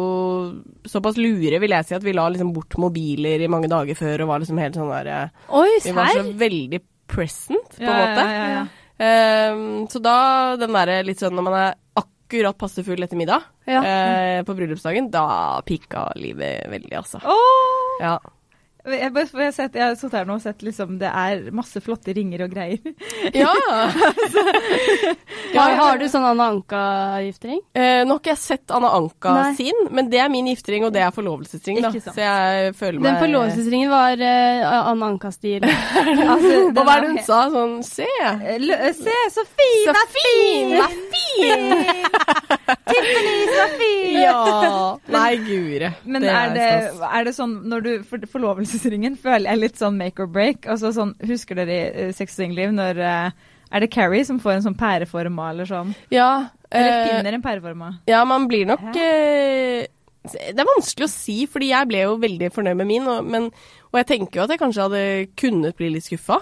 S3: såpass lure, vil jeg si, at vi la liksom bort mobiler i mange dager før og var liksom helt sånn der eh,
S2: Oi,
S3: Vi var så
S2: serr?
S3: veldig present, på en
S1: Ja,
S3: måte.
S1: Ja, ja, ja.
S3: Ehm, så da den derre litt sånn når man er akkurat passe full etter middag
S2: Ja.
S3: eh, på bryllupsdagen, da pika livet veldig, altså.
S1: Åh!
S3: Ja.
S1: Jeg, bare- for jeg, har sett, jeg har sittet her nå og sett liksom det er masse flotte ringer og greier.
S2: Har, har du sånn Anna Anka-giftering?
S3: Eh, nå har ikke jeg sett Anna Anka
S2: Nei.
S3: sin, men det er min giftering, og det er forlovelsesring, da.
S1: Ikke sant.
S3: Så jeg føler meg
S2: Den forlovelsesringen var eh, Anna Anka-stil. altså,
S3: Og hva er det hun sa? Sånn Se!
S1: Eh, Lø se, så fin!
S3: Så fin!
S1: Vær fin! Tiffany, så fin!
S3: Ja! Nei, guri.
S1: Men er, det,
S3: stas.
S1: er det sånn når du for, Forlovelsesringen føler jeg er litt sånn make or break. Altså sånn, Husker dere i uh, Sex og singelliv når eh, Er det Carrie som får en sånn pæreforma eller sånn?
S3: Ja.
S1: Eller
S3: eh,
S1: finner en pæreforma?
S3: Ja, man blir nok eh, Det er vanskelig å si, fordi jeg ble jo veldig fornøyd med min, og, men, og jeg tenker jo at jeg kanskje hadde kunnet bli litt skuffa.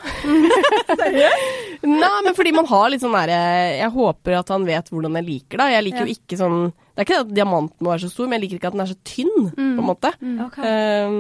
S3: Nei, men fordi man har litt sånn derre Jeg håper at han vet hvordan jeg liker det. Jeg liker jo ikke sånn Det er ikke det at diamanten må være så stor, men jeg liker ikke at den er så tynn, på en måte.
S1: mm.
S3: Eh,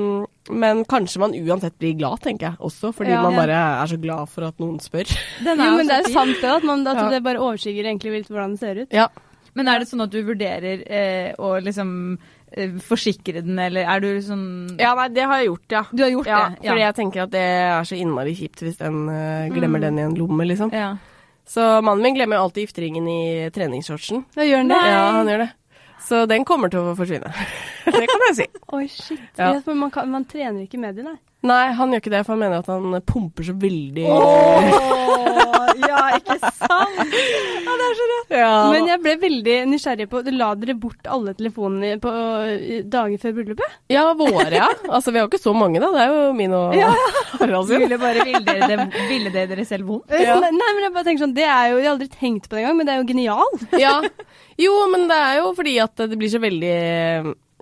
S3: men kanskje man uansett blir glad, tenker jeg også, fordi
S2: Ja.
S3: man bare er så glad for at noen spør.
S1: Den
S2: Jo,
S1: jo
S2: men det
S1: så
S2: er jo
S1: fin.
S2: sant det, at, man, at
S3: Ja.
S2: det bare overskygger egentlig litt hvordan det ser ut.
S3: Ja.
S1: Men er det sånn at du vurderer eh, å liksom eh, forsikre den, eller er du sånn
S3: Ja, nei, det har jeg gjort, ja.
S1: Du har gjort
S3: ja,
S1: det? Ja.
S3: Fordi jeg tenker at det er så innmari kjipt hvis den eh, glemmer den i en lomme, liksom.
S1: ja.
S3: Så mannen min glemmer jo alltid gifteringen i treningsshortsen.
S2: Ja, gjør den det?
S3: Ja, han gjør det. Så den kommer til å forsvinne. det kan jeg si.
S2: Oi, shit.
S3: Ja.
S2: Ja. for man, kan, man trener ikke med de, nei.
S3: Nei, han gjør ikke det, for han mener at han pumper så veldig
S1: Åh, ja, ikke sant?
S3: ja.
S2: Men jeg ble veldig nysgjerrig på La dere bort alle telefonene på i- dager før bryllupet?
S3: ja, våre, ja. Altså, vi har jo ikke så mange, da. Det er jo min og Harald sin.
S1: Ville bare ville dere, det- ville det dere selv vondt?
S3: Ja.
S2: Nei, nei, men jeg bare tenker sånn Det er jo Jeg har aldri tenkt på det engang, men det er jo genialt.
S3: Ja. Jo, men det er jo fordi at det blir så veldig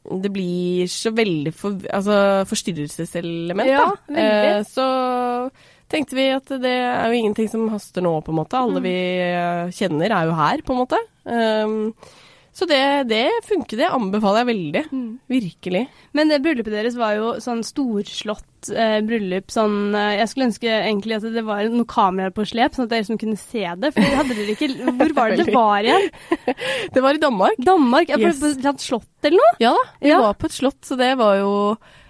S3: det blir så veldig for, altså, forstyrrelseselement,
S2: Ja,
S3: da.
S2: veldig.
S3: Eh, så tenkte vi at det er jo ingenting som haster nå, på en måte. Alle vi eh, kjenner er jo her, på en måte. Um, så det, det funker, det anbefaler jeg veldig. Virkelig.
S2: Men det bryllupet deres var jo sånn storslått eh, bryllup. Sånn eh, Jeg skulle ønske egentlig at det var noen kameraer på slep, sånn at dere som kunne se det. For hadde dere ikke Hvor var det det var igjen?
S3: Det var i Danmark.
S2: Danmark? Ja, for
S3: Yes.
S2: på et eller annet slott eller noe?
S3: Ja da, vi
S2: Ja.
S3: var på et slott, så det var jo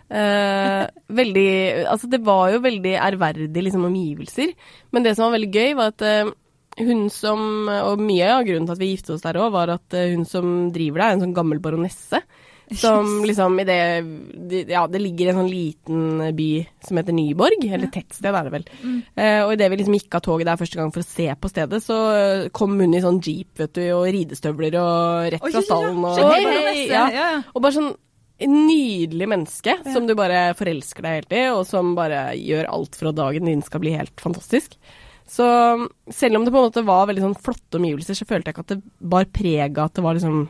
S3: eh, veldig Altså, det var jo veldig ærverdige liksom, omgivelser. Men det som var veldig gøy, var at eh, hun som Og mye av grunnen til at vi giftet oss der òg, var at eh, hun som driver det, er en sånn gammel baronesse. Som liksom i det de- Ja, det ligger en sånn liten by som heter Nyborg, eller tettsted er det vel.
S1: Mm.
S3: Eh, og idet vi liksom gikk av toget der første gang for å se på stedet, så eh, kom hun i sånn jeep, vet du, og ridestøvler og rett
S1: Oi,
S3: fra
S1: ja, ja.
S3: stallen og
S1: Skikkelig
S3: Hei, hei,
S1: baronesse,
S3: ja.
S1: ja, ja.
S3: Og bare sånn nydelig menneske som du bare forelsker deg helt i, og som bare gjør alt for at dagen din skal bli helt fantastisk. Så um, selv om det på en måte var veldig sånn flotte omgivelser, så følte jeg ikke at det bar preg av at det var liksom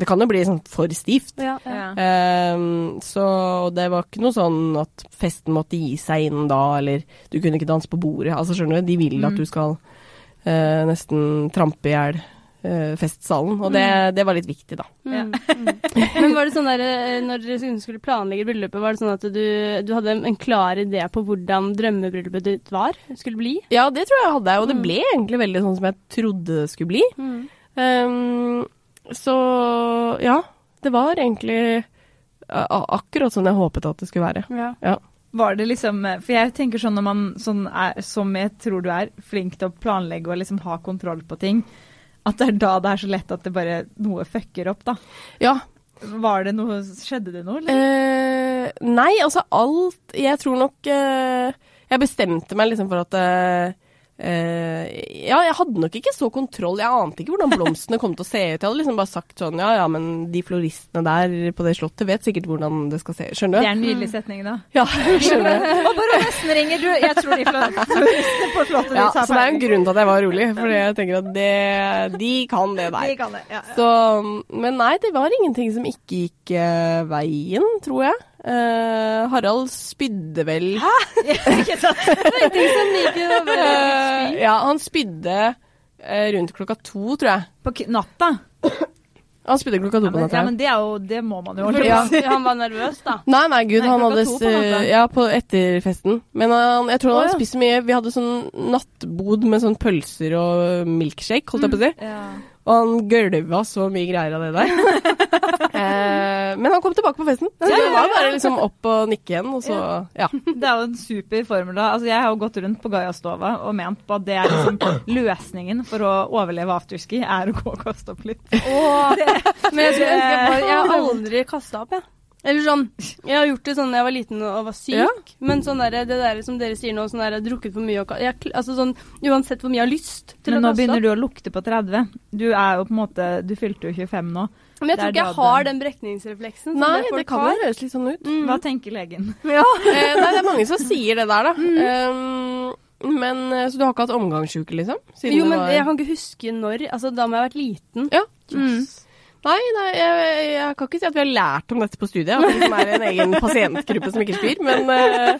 S3: Det kan jo bli sånn for stivt.
S1: Ja.
S3: Ehm, så og det var ikke noe sånn at festen måtte gi seg innen da, eller du kunne ikke danse på bordet. Altså, skjønner du, de vil at du skal eh, nesten trampe i hjel eh, festsalen. Og det, det var litt viktig, da.
S2: Mm. Men var det sånn der, eh, når dere liksom skulle planlegge bryllupet, var det sånn at du, du hadde en klar idé på hvordan drømmebryllupet ditt var, skulle bli?
S3: Ja, det tror jeg jeg hadde, og
S1: Mm.
S3: det ble egentlig veldig sånn som jeg trodde det skulle bli. Ehm, så ja, det var egentlig a- a- akkurat sånn jeg håpet at det skulle være.
S2: Ja.
S3: Ja.
S1: Var det liksom For jeg tenker sånn når man sånn er, som jeg tror du er, flink til å planlegge og liksom ha kontroll på ting, at det er da det er så lett at det bare noe fucker opp, da.
S3: ja
S1: Var det noe Skjedde det noe, eller?
S3: eh, nei, altså alt Jeg tror nok eh, Jeg bestemte meg liksom for at eh, eh, ja, jeg hadde nok ikke så kontroll. Jeg ante ikke hvordan blomstene kom til å se ut. Jeg hadde liksom bare sagt sånn Ja ja, men de floristene der på det slottet vet sikkert hvordan det skal se ut. Skjønner
S1: Det
S3: du?
S1: er en nydelig setning, da.
S3: Ja, skjønner du.
S1: Og bare nesten ringer du. Jeg tror de floristene på slottet
S3: Ja, så det er jo en grunn til at jeg var rolig, for jeg tenker at det, de kan det der.
S1: kan det. Ja,
S3: Så, men nei, det var ingenting som ikke gikk eh, veien, tror jeg. Eh, Harald spydde vel Hæ?
S1: Ikke sant?
S2: sånn,
S3: ja, han spydde eh, rundt klokka to, tror jeg.
S1: På k- natta?
S3: Han spydde klokka to
S1: Ja,
S3: på
S1: men,
S3: natta.
S1: ja, men det er jo Det må man jo holde
S2: Ja.
S1: på med.
S2: Han var nervøs, da.
S3: Nei, nei, gud,
S1: Nei,
S3: han
S1: klokka
S3: hadde
S1: to på
S3: s-
S1: natta.
S3: Ja, på etter festen. Men han, jeg tror han
S1: Å,
S3: hadde
S1: ja.
S3: spist så mye. Vi hadde sånn nattbod med sånn pølser og milkshake, holdt jeg på å si.
S1: Ja.
S3: Og han gølva så mye greier av det der. eh, men han kom tilbake på festen. Så det var bare liksom opp og nikke igjen, og så Ja.
S1: Det er jo en super formel. da. Altså, jeg har jo gått rundt på Gaiastova og ment på at det er liksom løsningen for å overleve afterski, er å gå og kaste opp litt.
S2: Men jeg, skulle ønske jeg, bare, jeg har aldri kasta opp, jeg. Eller sånn, Jeg har gjort det sånn da jeg var liten og var syk,
S3: Ja.
S2: men sånn der, det der som dere sier nå, sånn der, jeg har drukket for mye og ka- jeg, kl- altså sånn, Uansett hvor mye jeg har lyst til
S1: Men
S2: å
S1: nå
S2: kaste
S1: begynner
S2: opp.
S1: du å lukte på 30. Du er jo på en måte Du fylte jo 25 nå.
S2: Men jeg tror
S1: Det er
S2: ikke jeg
S1: da
S2: har
S1: den-
S2: den brekningsrefleksen. som
S3: Nei,
S2: det
S3: det
S2: folk
S3: kan
S2: har. Mm.
S3: jo høres litt sånn ut.
S1: Hva tenker legen?
S3: Eh, nei, det er mange som sier det der, da.
S2: Mm.
S3: Um, men eh, Så du har ikke hatt omgangsuke, liksom? Siden
S2: Jo,
S3: det
S2: men
S3: var-
S2: jeg kan ikke huske når. Altså, da må jeg ha vært liten. Mm.
S3: Ja. Nei, nei jeg, jeg kan ikke si at vi har lært om dette på studiet. At det liksom er en egen pasientgruppe som ikke spyr, men eh,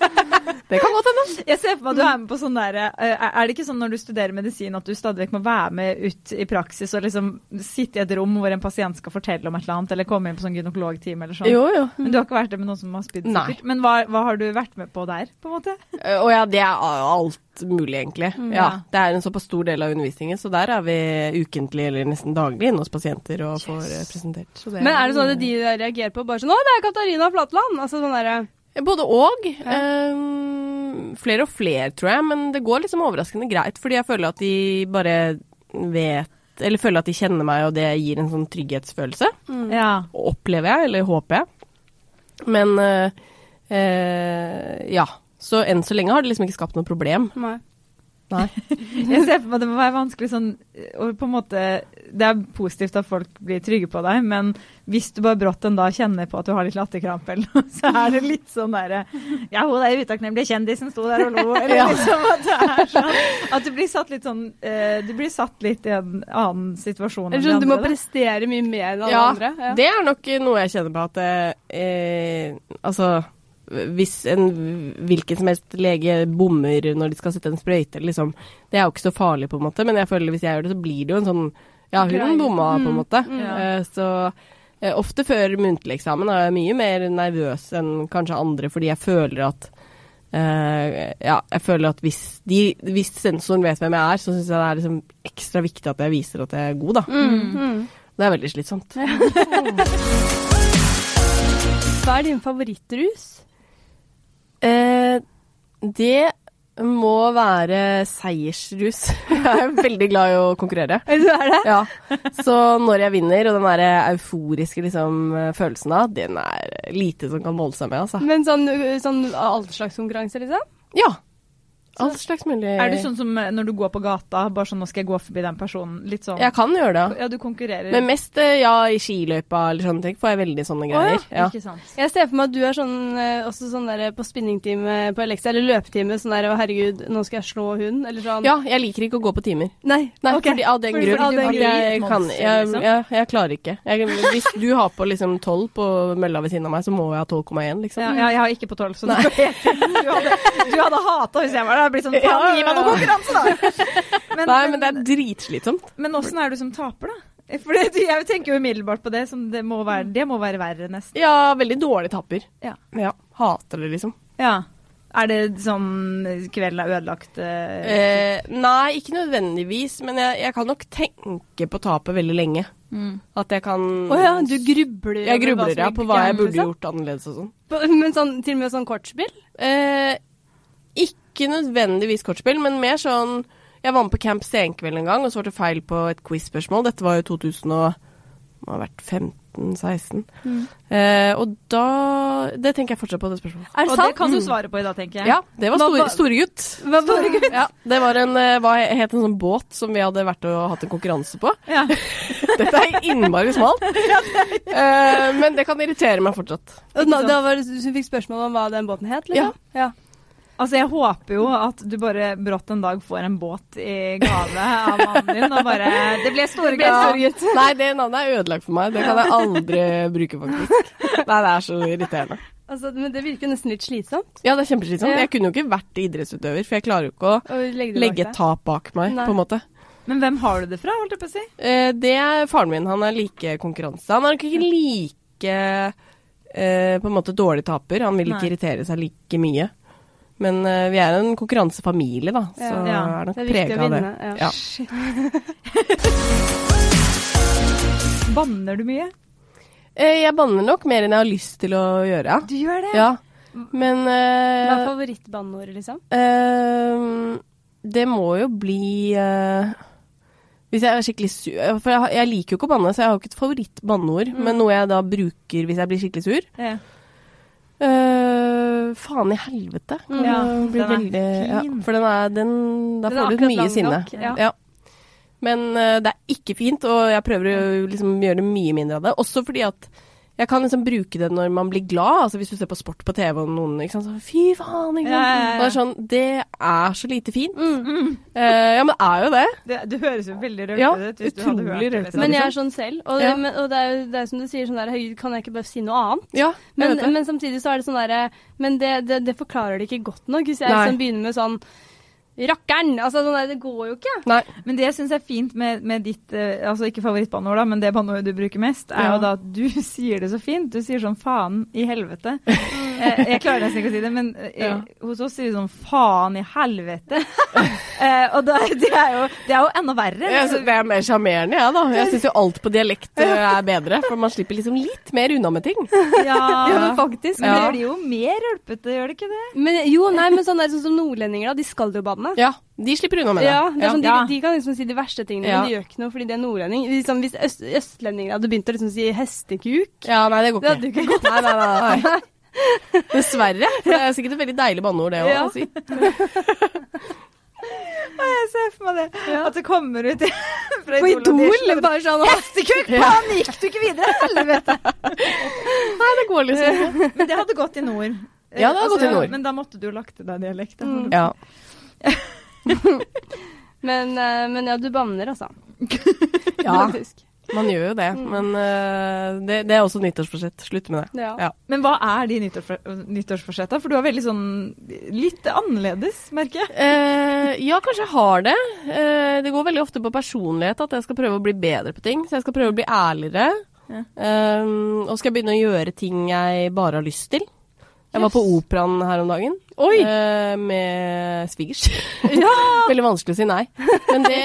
S3: det kan godt hende.
S1: Jeg ser for meg at du er med på sånn derre eh, Er det ikke sånn når du studerer medisin at du stadig vekk må være med ut i praksis og liksom sitte i et rom hvor en pasient skal fortelle om et eller annet, eller komme inn på sånn gynekologtime eller sånn?
S3: Jo, jo.
S1: Men du har ikke vært det med noen som har spydd?
S3: Nei.
S1: sikkert. Men hva, hva har du vært med på der, på en måte?
S3: Eh, Og ja, det er a- alt mulig, egentlig. Mm, Ja,
S1: Ja.
S3: det er en såpass stor del av undervisningen, så der er vi ukentlig eller nesten daglig inne hos pasienter og får eh, presentert. Så det
S2: Men er det sånn at de der reagerer på bare sånn Å, det er Katarina Flatland! Altså sånn derre
S3: Både og. Ehm, flere og flere, tror jeg, men det går liksom overraskende greit, fordi jeg føler at de bare vet eller føler at de kjenner meg, og det gir en sånn trygghetsfølelse.
S1: Ja.
S3: Opplever jeg, eller håper jeg. Men eh, eh, ja. Så enn så lenge har det liksom ikke skapt noe problem.
S2: Nei.
S3: Nei.
S1: Jeg ser for meg det må være vanskelig sånn og på en måte, Det er positivt at folk blir trygge på deg, men hvis du bare brått en dag kjenner på at du har litt latterkrampe eller noe, så er det litt sånn derre Ja, hun der utakknemlige kjendisen sto der og lo. Eller liksom at det er sånn At du blir satt litt sånn eh, Du blir satt litt i en annen situasjon enn
S2: Eller sånn,
S1: de
S2: du må
S1: andre. da.
S2: prestere mye mer enn alle andre. Ja.
S3: det er nok noe jeg kjenner på at eh, Altså hvis en hvilken som helst lege bommer når de skal sette en sprøyte, eller liksom, det er jo ikke så farlig, på en måte, men jeg føler hvis jeg gjør det, så blir det jo en sånn Ja,
S2: Greie. Mm.
S3: hun bomma, på en måte.
S1: ja.
S3: Eh, så eh, ofte før muntlig eksamen er jeg mye mer nervøs enn kanskje andre, fordi jeg føler at eh, ja, jeg føler at hvis, de, hvis sensoren vet hvem jeg er, så syns jeg det er liksom ekstra viktig at jeg viser at jeg er god, da.
S2: Mm.
S3: Det er veldig slitsomt.
S2: Hva er din favorittrus?
S3: Eh, det må være seiersrus. Jeg er veldig glad i å konkurrere.
S2: Eller så er det?
S3: Ja. Så når jeg vinner, og den der euforiske liksom, følelsen av, den er lite som kan måle seg med, altså.
S2: Men sånn, ø, sånn all slags konkurranse, liksom?
S3: Ja. All slags mulig
S1: Er du sånn som eh, når du går på gata, bare sånn 'nå skal jeg gå forbi den personen'? Litt sånn
S3: Jeg kan gjøre det. ja.
S1: Ja, du konkurrerer.
S3: Men mest eh, ja, i skiløypa eller sånne ting får jeg veldig sånne greier. ja.
S1: Ikke sant.
S2: Jeg ser for meg at du er sånn, ø, også sånn der på spinningtime på Alexa, eller løpetime, sånn der 'Å, herregud, nå skal jeg slå hun', eller sånn.
S3: ja, jeg liker ikke å gå på timer.
S2: Nei.
S3: Nei,
S1: Ok.
S3: fordi av den
S1: Fordi-
S3: grunn.
S1: fordi du
S3: at
S1: blir
S3: jeg,
S1: et
S3: kan,
S1: monster,
S3: jeg,
S1: liksom.
S3: jeg, jeg klarer ikke. Jeg, hvis du har på liksom 12 på mølla ved siden av meg, så må jeg ha 12,1, liksom.
S1: Ja, ja, jeg har ikke på tolv, så du, du hadde, du hadde hata hvis jeg var der. jeg blir sånn Faen, gi meg noe konkurranse, da! Men,
S3: Nei, men det er dritslitsomt.
S1: men åssen er du som taper, da? For det, jeg tenker jo umiddelbart på det som det må være, det må være verre, nesten.
S3: Ja, veldig dårlig tapper.
S1: Ja.
S3: ja. Hater det, liksom.
S1: Ja. Er det sånn kvelden er ødelagt eh,
S3: Eh, nei, ikke nødvendigvis, men jeg, jeg kan nok tenke på tapet veldig lenge.
S1: Mm.
S3: At jeg kan
S2: Å ja, du grubler
S3: Jeg
S2: over
S3: grubler
S2: som
S3: ja,
S2: gikk
S3: på hva jeg
S2: gærent,
S3: burde
S2: liksom?
S3: gjort annerledes og sånn.
S2: På- Men sånn, til og med sånn kortspill?
S3: Eh, ikke nødvendigvis kortspill, men mer sånn Jeg var med på Camp Senkveld en gang og svarte feil på et quiz-spørsmål. Dette var jo 2000 og Må ha vært 15-16.
S2: Mm.
S3: Eh, og da Det tenker jeg fortsatt på, det spørsmålet.
S2: Er det
S1: Og det
S2: sant? Mm.
S1: kan du svare på i dag, tenker jeg.
S3: Ja, det var
S2: Hva
S3: stor,
S2: var-
S3: storegutt.
S2: Hva, hva,
S3: Ja, det var en, eh, hva het en sånn båt som vi hadde vært og hatt en konkurranse på.
S1: Ja.
S3: Dette er innmari smalt. Eh, men det kan irritere meg fortsatt.
S2: og da, da var det, du fikk spørsmål om hva den båten het, liksom? sånn. Ja.
S1: Altså, jeg håper jo at du bare brått en dag får en båt i gave av mannen din, og bare Det ble store gaver.
S3: Nei, det navnet er ødelagt for meg. Det kan jeg aldri bruke, faktisk. Nei, det er så irriterende.
S2: Altså, men det virker jo nesten litt slitsomt
S3: Ja, det er kjempeslitsomt.
S2: Ja.
S3: Jeg kunne jo ikke vært idrettsutøver, for jeg klarer jo ikke å
S2: å legge det
S3: legge et
S2: bak deg.
S3: tap bak meg,
S2: Nei.
S3: på en måte.
S1: Men hvem har du det fra, holdt jeg på å si?
S3: Eh, det er faren min. Han er like konkurranse. Han er nok ikke like eh, på en måte dårlig taper. Han vil ikke
S1: Nei.
S3: irritere seg like mye. Men eh, vi er en konkurransefamilie, da, så
S2: Ja.
S1: Ja,
S3: er nok
S2: det er viktig
S3: prega
S2: å
S3: av det.
S2: vinne, ja.
S3: Ja.
S1: Banner du mye?
S3: Eh, jeg banner nok mer enn jeg har lyst til å gjøre.
S1: Du gjør det?
S3: Ja. Men
S2: Hva er
S3: eh,
S2: favorittbanneordet, liksom?
S3: eh, det må jo bli eh, hvis jeg er skikkelig sur For jeg, har- jeg liker jo ikke å banne, så jeg har jo ikke et favorittbanneord. Men noe jeg da bruker hvis jeg blir skikkelig sur.
S1: Ja.
S3: Eh, faen i helvete. Kan
S1: Ja,
S3: det bli
S1: den er
S3: veldig, ja,
S1: fin.
S3: for den er den, Da
S2: Den er
S3: får du ut
S2: akkurat
S3: mye
S2: lang
S3: sinne.
S2: nok, ja.
S3: Men eh, det er ikke fint, og jeg prøver å liksom, gjøre det mye mindre av det. Også fordi at jeg kan liksom bruke det når man blir glad. Altså Hvis du ser på sport på TV og noen ikke sant, så, Fy faen, ikke sant.
S1: Ja, ja, ja.
S3: Og det er sånn Det er så lite fint.
S2: Mm.
S3: Eh, ja, men det er jo det.
S1: Det, du høres jo veldig rørt
S3: Ja,
S1: ut hvis du hadde
S3: utrolig
S1: hørt det.
S3: rørt
S1: liksom.
S3: ut.
S2: Men jeg er sånn selv, og,
S3: Ja.
S2: men, og det, er jo, det er som du sier, sånn der, «Høy, kan jeg ikke bare si noe annet?
S3: Ja, jeg
S2: Men,
S3: vet det.
S2: men samtidig så er det sånn derre Men det, det, det forklarer det ikke godt nok. Hvis jeg
S3: Nei.
S2: liksom begynner med sånn Rakkeren! Altså sånn der, det går jo ikke.
S3: Nei.
S1: Men det jeg syns er fint med, med ditt eh, altså ikke favorittbanneord, da, men det banneordet du bruker mest, er
S3: Ja.
S1: jo da at du sier det så fint. Du sier sånn faen i helvete. Eh, jeg klarer nesten ikke å si det, men eh,
S3: Ja.
S1: hos oss sier vi sånn faen i helvete. Eh, og da, det, er jo, det er jo enda verre.
S3: Jeg synes det er mer sjarmerende, jeg, da. Jeg syns jo alt på dialekt eh, er bedre, for man slipper liksom litt mer unna med ting.
S1: Ja.
S2: men faktisk.
S1: Men det
S3: Ja.
S1: blir jo mer rølpete, gjør det ikke det?
S2: Men jo, nei, men sånn der, sånn som nordlendinger, da. De skal jo banne.
S3: Ja, de slipper unna med det.
S2: Ja, det er sånn,
S1: Ja.
S2: De, de kan liksom si de verste tingene,
S3: Ja.
S2: men de gjør ikke noe fordi de er nordlending. Liksom, hvis øst, østlendinger hadde begynt å liksom si hestekuk
S3: Ja, nei, det går
S2: Det
S3: ikke.
S2: hadde jo ikke gått.
S3: Nei, nei, nei, nei. Dessverre. For det er sikkert et veldig deilig banneord, det òg.
S2: Ja.
S3: å si.
S1: Jeg ser for meg det. At det kommer ut fra
S2: På Idol!
S1: og de slår-
S2: Bare sånn
S1: Hestekuk! Faen, gikk du ikke videre? Helvete!
S3: Nei, det går liksom ikke.
S1: Men det hadde gått i nord. Eh,
S3: Ja, det hadde gått i nord.
S1: Men da måtte du jo lagt til deg dialekt. da.
S2: Mm.
S3: Ja.
S2: Men, eh, men ja, du banner, altså.
S3: ja,
S2: Faktisk.
S3: man gjør jo det. Men eh, det, det er også nyttårsforsett. Slutt med det.
S2: Ja.
S3: Ja.
S1: Men hva er de nyttårsfor- nyttårsforsetta? For du er veldig sånn litt annerledes, merker jeg.
S3: Eh, ja, kanskje jeg har det. Eh, det går veldig ofte på personlighet at jeg skal prøve å bli bedre på ting. Så jeg skal prøve å bli ærligere.
S1: Ja.
S3: Eh, og skal begynne å gjøre ting jeg bare har lyst til. Jeg var på operaen her om dagen
S2: Oi!
S3: eh, med svigers. Veldig vanskelig å si nei. Men det,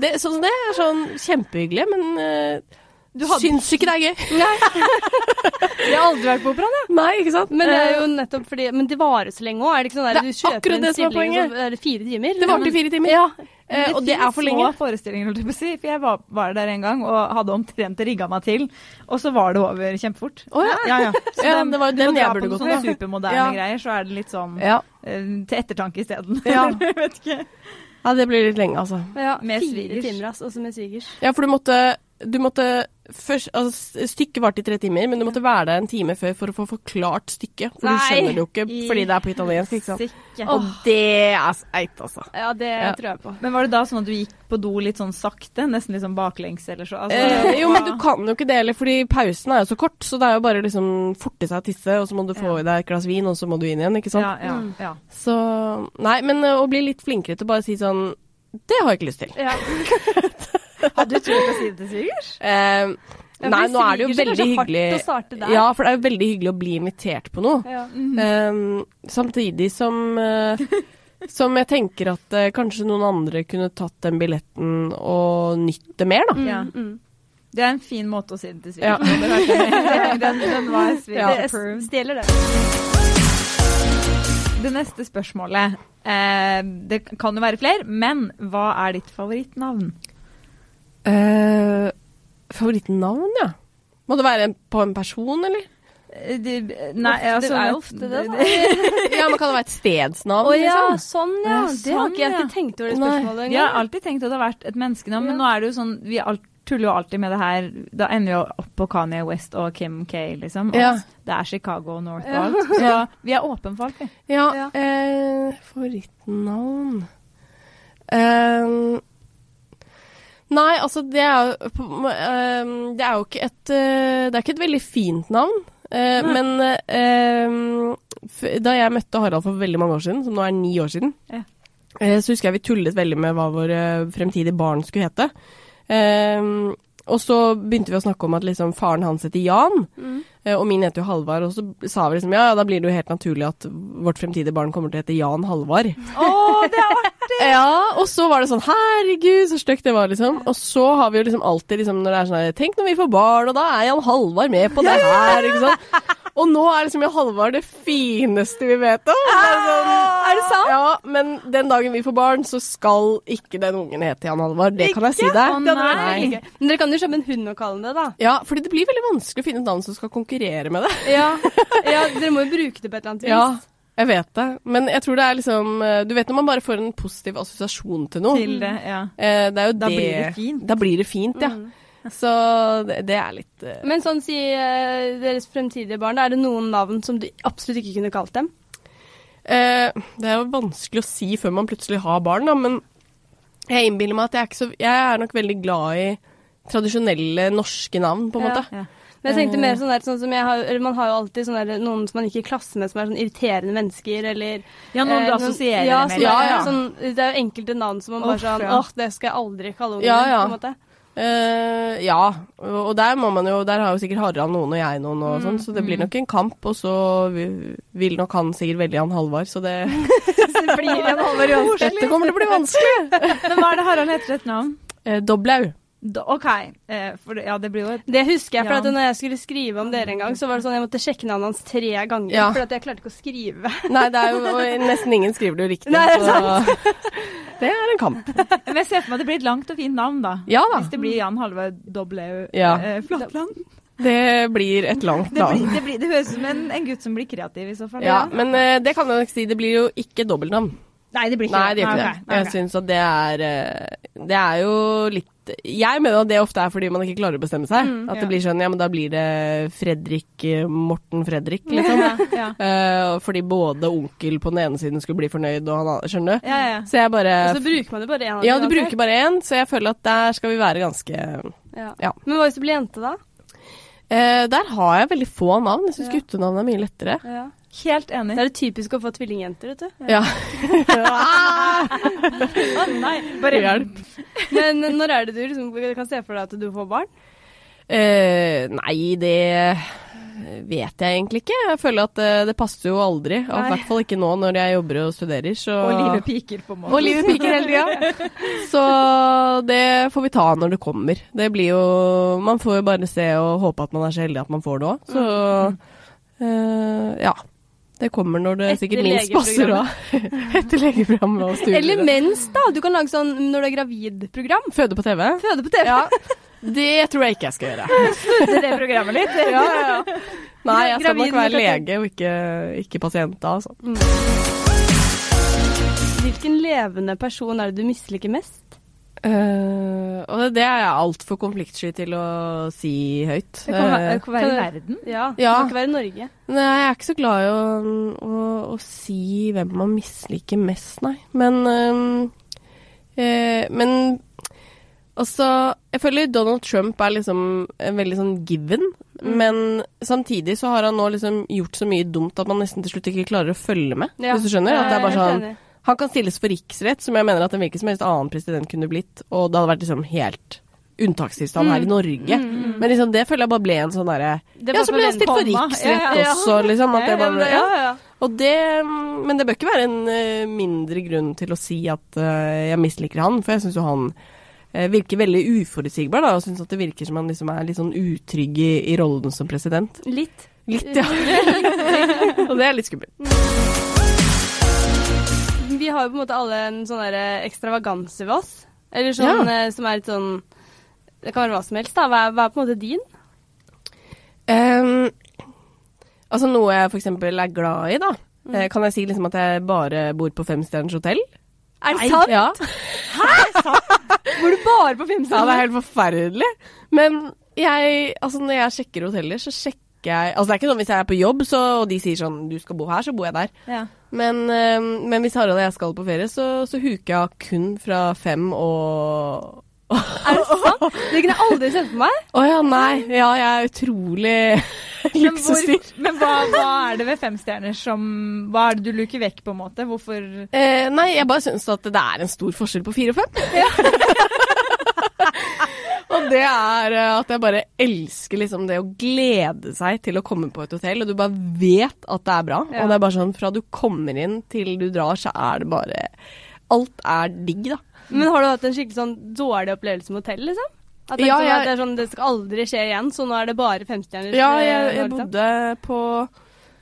S3: det, sånn som det er sånn kjempehyggelig, men eh,
S1: Du hadde-
S3: syns ikke det er gøy.
S2: Jeg har aldri vært på operaen, jeg.
S3: Nei, ikke sant?
S2: Men det er jo nettopp fordi Men det varer så lenge òg. Er det ikke sånn der
S3: Det er
S2: du kjøper
S3: akkurat
S2: en
S3: det som er
S2: stilling,
S3: poenget.
S2: og så er det fire timer?
S3: Det varte i fire timer.
S1: Men
S3: Eh, og det er
S1: finnes
S3: for lenge.
S1: små forestillinger, holdt jeg på å si. For jeg var, var der en gang og hadde omtrent rigga meg til, og så var det over kjempefort.
S3: Å ja.
S1: Ja, ja. Så
S3: Ja,
S1: dem-
S3: det var jo
S1: du må
S3: den
S1: dra
S3: jeg
S1: på
S3: burde
S1: noen
S3: gått
S1: sånne
S3: på.
S1: supermoderne
S3: Ja.
S1: greier, så er det litt sånn
S3: Ja.
S1: eh, til ettertanke isteden.
S3: Ja.
S1: Jeg vet ikke.
S3: ja, det blir litt lenge, altså.
S2: Ja,
S1: Med
S2: fire
S1: svigers.
S2: timer, ass, også med svigers.
S3: Ja, for du måtte, du måtte først, altså, Stykket varte i tre timer, men du måtte være der en time før for å få forklart stykket. For du
S2: Nei.
S3: skjønner det jo ikke fordi det er på italiensk, ikke sant.
S1: Sikke.
S3: Og det er seigt, altså.
S2: Ja, det
S3: Ja.
S2: tror jeg på.
S1: Men var det da sånn at du gikk på do litt sånn sakte? Nesten litt sånn baklengs eller så? Altså,
S3: Eh, jo, men du kan jo ikke det heller, fordi pausen er jo så kort. Så det er jo bare liksom forte seg å tisse, og så må du få i deg et glass vin, og så må du inn igjen, ikke sant.
S1: Ja, ja, ja.
S3: Så Nei, men ø, å bli litt flinkere til å bare si sånn Det har jeg ikke lyst til.
S2: Ja.
S1: Hadde du trodd å si det til svigers?
S3: Eh,
S2: Ja,
S3: nei,
S2: for
S3: nå er det
S2: sviger,
S3: jo
S2: så
S3: veldig
S2: kanskje
S3: hyggelig
S2: hardt å starte der.
S3: Ja, for det er jo veldig hyggelig å bli invitert på noe.
S2: Ja.
S3: Eh, samtidig som eh, Som jeg tenker at eh, kanskje noen andre kunne tatt den billetten og nytt det mer, da.
S1: Ja.
S2: Mm.
S1: Det er en fin måte å si det til
S3: Ja.
S1: svigers på. det hørte jeg. Den, den var svigers
S2: Det
S1: approved.
S2: stjeler det.
S1: Det neste spørsmålet eh, Det kan jo være flere, men hva er ditt favorittnavn?
S3: Eh, favorittnavn, ja. Må det være en- på en person, eller?
S1: Eh, det-
S2: Ofte- det er jo ofte det, da.
S3: Ja, men kan det være et stedsnavn,
S2: Å ja,
S3: liksom?
S2: sånn ja.
S1: Ja,
S2: Det har
S1: sånn,
S2: ikke jeg
S1: ja.
S2: ikke tenkt over det
S3: Nei.
S2: spørsmålet
S1: Jeg har
S2: engang.
S1: alltid tenkt at det har vært et menneskenavn, men
S2: Ja.
S1: nå er det jo sånn Vi alt, tuller jo alltid med det her. Da ender vi jo opp på Kanye West og Kim K, liksom. At
S3: Ja.
S1: Det er Chicago og North og
S2: Ja.
S1: alt. Så
S3: Ja.
S1: vi er åpen for alt, vi.
S3: Ja,
S2: Ja.
S3: eh, favorittnavn eh, Nei, altså det er, jo på- eh, det er jo ikke et eh, Det er ikke et veldig fint navn. Eh,
S1: Nei.
S3: men eh, f- da jeg møtte Harald for veldig mange år siden, som nå er ni år siden,
S1: Ja.
S3: eh, så husker jeg vi tullet veldig med hva våre fremtidige barn skulle hete. Eh, og så begynte vi å snakke om at liksom faren hans heter Jan.
S2: Mm.
S3: Eh, Og min heter jo Halvard, og så sa vi liksom ja, ja, da blir det jo helt naturlig at vårt fremtidige barn kommer til å hete Jan Halvard.
S1: Å, det er artig!
S3: Ja, og så var det sånn herregud, så stygt det var, liksom. Og så har vi jo liksom alltid liksom når det er sånn her, tenk når vi får barn, og da er Jan Halvard med på det her, ikke sant. Og nå er liksom Jan Halvard det fineste vi vet om. Det Er, sånn,
S1: Ah!
S2: Er det sant?
S3: Ja, men den dagen vi får barn, så skal ikke den ungen hete Jan Halvard. Det kan jeg si
S1: Å,
S3: deg.
S2: Det hadde vært
S1: nei.
S2: veldig gøy. Men dere kan jo kjøpe en hund og kalle den det, da.
S3: Ja, fordi det blir veldig vanskelig å finne et navn som skal konkurrere med det.
S2: Ja. ja, dere må jo bruke det på et eller annet vis.
S3: Ja, jeg vet det. Men jeg tror det er liksom eh, Du vet når man bare får en positiv assosiasjon til noe.
S1: Til det, ja.
S3: Eh, det er jo
S1: Da
S3: det,
S1: blir det fint. Mm.
S3: Da blir det
S2: Mm.
S3: fint, ja. Så det, det er litt eh,
S2: Men sånn si eh, deres fremtidige barn, da, er det noen navn som du absolutt ikke kunne kalt dem?
S3: eh, Det er jo vanskelig å si før man plutselig har barn, da, men jeg innbiller meg at jeg er ikke så Jeg er nok veldig glad i tradisjonelle norske navn, på en
S2: Ja.
S3: måte.
S1: ja.
S2: Men jeg tenkte mer
S3: Eh.
S2: sånn der, sånn som jeg har, eller Man har jo alltid sånn der, noen som man ikke er i klasse med, som er sånn irriterende mennesker, eller
S1: Ja, noen du
S2: eh,
S1: assosierer
S2: ja,
S1: med.
S2: som er
S3: Ja, ja.
S2: Sånn, det er jo enkelte navn som man bare
S3: Uff,
S2: sånn
S3: ja.
S2: Åh, det skal jeg aldri kalle ungen
S3: Ja,
S2: min,
S3: ja.
S2: på en måte.
S3: Eh, ja, og der må man jo Der har jo sikkert Harald noen og jeg noen og
S1: Mm,
S3: sånn, så det blir nok en kamp, og så vi- vil nok han sikkert veldig han Halvard, så det
S1: Det blir en over
S3: Dette kommer til å bli vanskelig.
S1: Men hva er det Harald heter til et navn?
S3: Eh, Doblaug.
S1: Da- OK. Eh, for, det- ja, det blir jo et
S2: Det husker jeg, for
S1: Ja.
S2: at når jeg skulle skrive om dere en gang, så var det sånn jeg måtte sjekke navnet hans tre ganger,
S3: Ja.
S2: for at jeg klarte ikke å skrive.
S3: Nei, det er jo og nesten ingen skriver det jo riktig.
S2: Nei, det er
S3: sant. det er en kamp.
S1: Men jeg ser for meg at det blir et langt og fint navn, da.
S3: Ja da.
S1: Hvis det blir Jan Halvard Doblaug
S3: Ja.
S1: eh, Flatland.
S3: Det blir et langt
S1: Det, blir,
S3: navn.
S1: det, blir, det høres ut som en, en gutt som blir kreativ, i så fall.
S3: Ja, men eh, det kan jeg nok si. Det blir jo ikke dobbeltnavn.
S1: Nei, det blir ikke
S3: Nei, det gjør ikke
S1: ok,
S3: det. Jeg
S1: ok.
S3: syns at det er eh, Det er jo litt Jeg mener at det ofte er fordi man ikke klarer å bestemme seg. At
S1: ja.
S3: det blir sånn Ja, men da blir det Fredrik eh, Morten Fredrik, liksom.
S1: Ja, ja.
S3: Eh, fordi både onkel på den ene siden skulle bli fornøyd, og han an- Skjønner du?
S1: Ja, ja.
S3: Så jeg bare
S2: Og så bruker man det bare én
S3: Ja, du bruker bare én, så jeg føler at der skal vi være ganske
S2: Ja.
S3: Ja.
S2: Men hva hvis det blir jente, da?
S3: Eh, Der har jeg veldig få navn. Jeg syns
S2: Ja.
S3: guttenavn er mye lettere.
S1: Helt enig.
S2: Det er det typisk å få tvillingjenter, vet du.
S3: Ja.
S1: Å nei, bare
S3: Hjelp.
S2: Men når er det du liksom, kan se for deg at du får barn?
S3: Eh, nei, det vet jeg egentlig ikke. Jeg føler at eh, det passer jo aldri. Og I
S2: Nei.
S3: hvert fall ikke nå når jeg jobber og studerer. Så...
S1: Og livet piker, på en måte.
S3: Og livet piker hele tida. Så det får vi ta når det kommer. Det blir jo Man får jo bare se og håpe at man er så heldig at man får det òg. Så eh, ja. Det kommer når det
S2: Etter
S3: sikkert minst passer òg. Etter legeprogrammet og studier.
S2: Eller mens, da. Du kan lage sånn når du er gravid-program.
S3: Føde på TV?
S2: Føde på TV.
S3: Ja. Det tror jeg ikke jeg skal gjøre.
S1: Snudde det programmet litt.
S3: Ja, ja, ja. Nei, jeg skal
S2: Gravid
S3: nok være
S2: med
S3: lege og ikke, ikke pasient da, altså.
S2: Hvilken levende person er det du misliker mest?
S3: Eh, Eh, og det er jeg altfor konfliktsky til å si høyt.
S1: Det kan, være,
S3: Eh,
S1: det kan være i
S2: Kan
S1: verden.
S2: Ja, det
S3: Ja.
S2: må ikke være i Norge.
S3: Nei, jeg er ikke så glad i å, å, å si hvem man misliker mest, nei. Men øhm, eh, Men også Jeg føler Donald Trump er liksom en veldig sånn given.
S2: Mm.
S3: Men samtidig så har han nå liksom gjort så mye dumt at man nesten til slutt ikke klarer å følge med.
S2: Ja.
S3: Hvis du skjønner? At det er bare
S2: Jeg
S3: sånn
S2: enig.
S3: Han kan stilles for riksrett, som jeg mener at en hvilken som helst annen president kunne blitt, og det hadde vært liksom helt unntakstilstand
S2: Mm.
S3: her i Norge. Men liksom det føler jeg bare ble en sånn derre
S2: Det
S3: Ja, så ble jeg stilt for
S1: komma.
S3: riksrett
S1: Ja, ja,
S2: ja.
S3: også, liksom.
S2: Ja,
S3: At det
S2: ja, men
S3: bare,
S2: det-
S3: ja.
S2: ja, ja.
S3: Og det Men det bør ikke være en eh, mindre grunn til å si at eh, jeg misliker han, for jeg syns jo han eh, virker veldig uforutsigbar, da, og syns at det virker som han liksom er litt sånn utrygg i, i rollen som president.
S2: Litt.
S3: Litt, ja. og det er litt skummelt.
S2: Vi har jo på en måte alle en sånn der eh, ekstravaganse ved oss. Eller sånn eh, som er litt sånn Det kan være hva som helst, da. Hva er, hva er på en måte din?
S3: Ehm, altså noe jeg for eksempel er glad i, da. Eh, Kan jeg si liksom at jeg bare bor på femstjerners hotell?
S2: Mm. Er det sant?
S3: Ja.
S2: Bor du bare på
S3: ja, det
S2: Filmsalen?
S3: er helt forferdelig. Men jeg, altså når jeg sjekker hoteller, så sjekker jeg Altså det er ikke sånn hvis jeg er på jobb så, og de sier sånn du skal bo her, så bor jeg der.
S1: Ja.
S3: Men, ehm, men hvis Harald og jeg skal på ferie, så, så huker jeg av kun fra fem og
S2: Er det sant? Det kunne jeg aldri sett for meg.
S3: Å ja, nei. Ja, jeg er utrolig
S1: Men, hvor,
S3: luksusdyr.
S1: men hva, hva er det ved femstjerner som Hva er det du luker vekk, på en måte? Hvorfor
S3: Eh, nei, jeg bare syns at det er en stor forskjell på fire og fem. og det er eh, at jeg bare elsker liksom det å glede seg til å komme på et hotell, og du bare vet at det er bra.
S2: Ja.
S3: Og det er bare sånn fra du kommer inn til du drar, så er det bare Alt er digg, da.
S2: Men har du hatt en skikkelig sånn dårlig opplevelse med hotell, liksom? At det,
S3: Ja,
S2: liksom,
S3: jeg-
S2: at det er sånn, det skal aldri skje igjen, så nå er det bare femstjerners
S3: Ja,
S2: eh,
S3: jeg,
S2: Nordic,
S3: jeg
S2: da.
S3: bodde på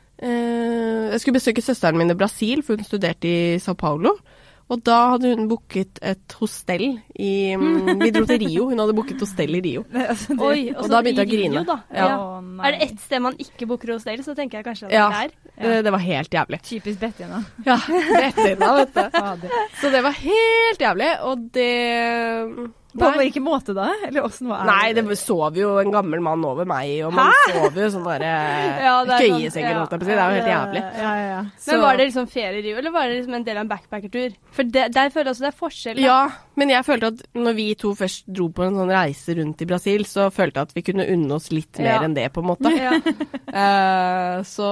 S3: eh, Jeg skulle besøke søsteren min i Brasil, for hun studerte i Sao Paulo. Og da hadde hun booket et hostell i mm, Vi dro til Rio. Hun hadde booket hostell i Rio.
S1: Altså, det-
S2: Oi, og,
S3: Og
S2: så
S3: da begynte jeg å
S2: i Rio,
S3: grine.
S2: da.
S3: Ja.
S1: Å, nei.
S2: Er det ett sted man ikke booker hostell, så tenker jeg kanskje at
S3: Ja.
S2: det er der.
S3: Det, det var helt jævlig.
S1: Typisk Bettina.
S3: Ja, rett inn da, vet du.
S1: Fader.
S3: Så det var helt jævlig, og det
S1: På hvilken måte da? Eller åssen var
S3: Nei, det sov jo en gammel mann over meg, og man sov jo sånn derre
S2: Ja, det er sånn-
S3: køyesenger,
S2: ja.
S3: holdt jeg på å si. Det er jo helt jævlig.
S1: Ja, ja, ja.
S2: Men
S3: Så-
S2: var det liksom ferie i Rio, eller var det liksom en del av en backpackertur? For det, der føler jeg også det er forskjell. da.
S3: Ja, men jeg følte at når vi to først dro på en sånn reise rundt i Brasil, så følte jeg at vi kunne unne oss litt mer
S2: Ja.
S3: enn det, på en måte.
S2: Ja.
S3: Eh, så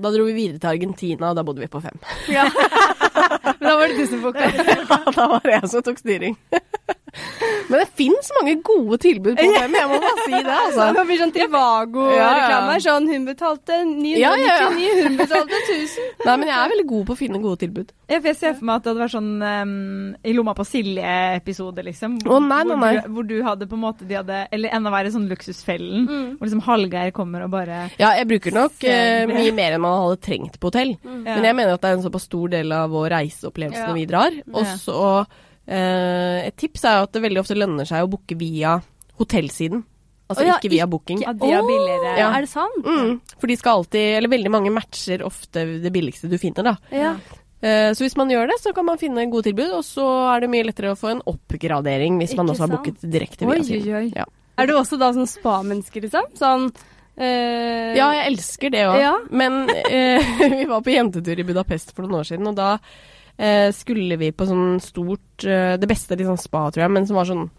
S3: da dro vi videre til Argentina, og da bodde vi på fem.
S2: ja. Men da var det du som booka.
S3: da var det jeg som tok styring. Men det fins mange gode tilbud på fem, jeg må bare si det, altså.
S2: Det blir sånn Trivago-reklame.
S3: Ja, ja.
S2: Sånn, hun betalte 999,
S3: Ja, ja,
S2: hun betalte 1000.
S3: Nei, men jeg er veldig god på å finne gode tilbud.
S1: Ja, for Jeg ser for meg at det hadde vært sånn ehm, I lomma på Silje-episode, liksom.
S3: Å, nei, nei, nei.
S1: Hvor, du, hvor du hadde på en måte de hadde Eller enda verre, sånn Luksusfellen.
S3: Mm.
S1: Hvor liksom Hallgeir kommer og bare
S3: Ja, jeg bruker nok eh, mye mer enn man hadde trengt på hotell.
S1: Ja.
S3: Men jeg mener at det er en såpass stor del av vår reiseopplevelse
S2: Ja.
S3: når vi drar. Og så eh, Et tips er jo at det veldig ofte lønner seg å booke via hotellsiden. Altså
S2: Å ja,
S3: ikke via booking.
S1: Ja, de er
S2: Åh,
S1: billigere.
S3: Ja.
S2: Er det sant?
S3: Mm, for de skal alltid Eller veldig mange matcher ofte det billigste du finner, da.
S2: Ja.
S3: Eh, Så hvis man gjør det, så kan man finne gode tilbud, og så er det mye lettere å få en oppgradering hvis man
S2: Ikke
S3: også har
S2: sant?
S3: booket direkte
S1: Oi,
S3: via siden.
S1: oi, oi.
S3: Ja.
S2: Er du også da sånn spa-menneske, liksom? Sånn eh,
S3: ja, jeg elsker det òg.
S2: Ja.
S3: Men eh, vi var på jentetur i Budapest for noen år siden, og da eh, skulle vi på sånn stort eh, Det beste liksom spa, tror jeg, men som var sånn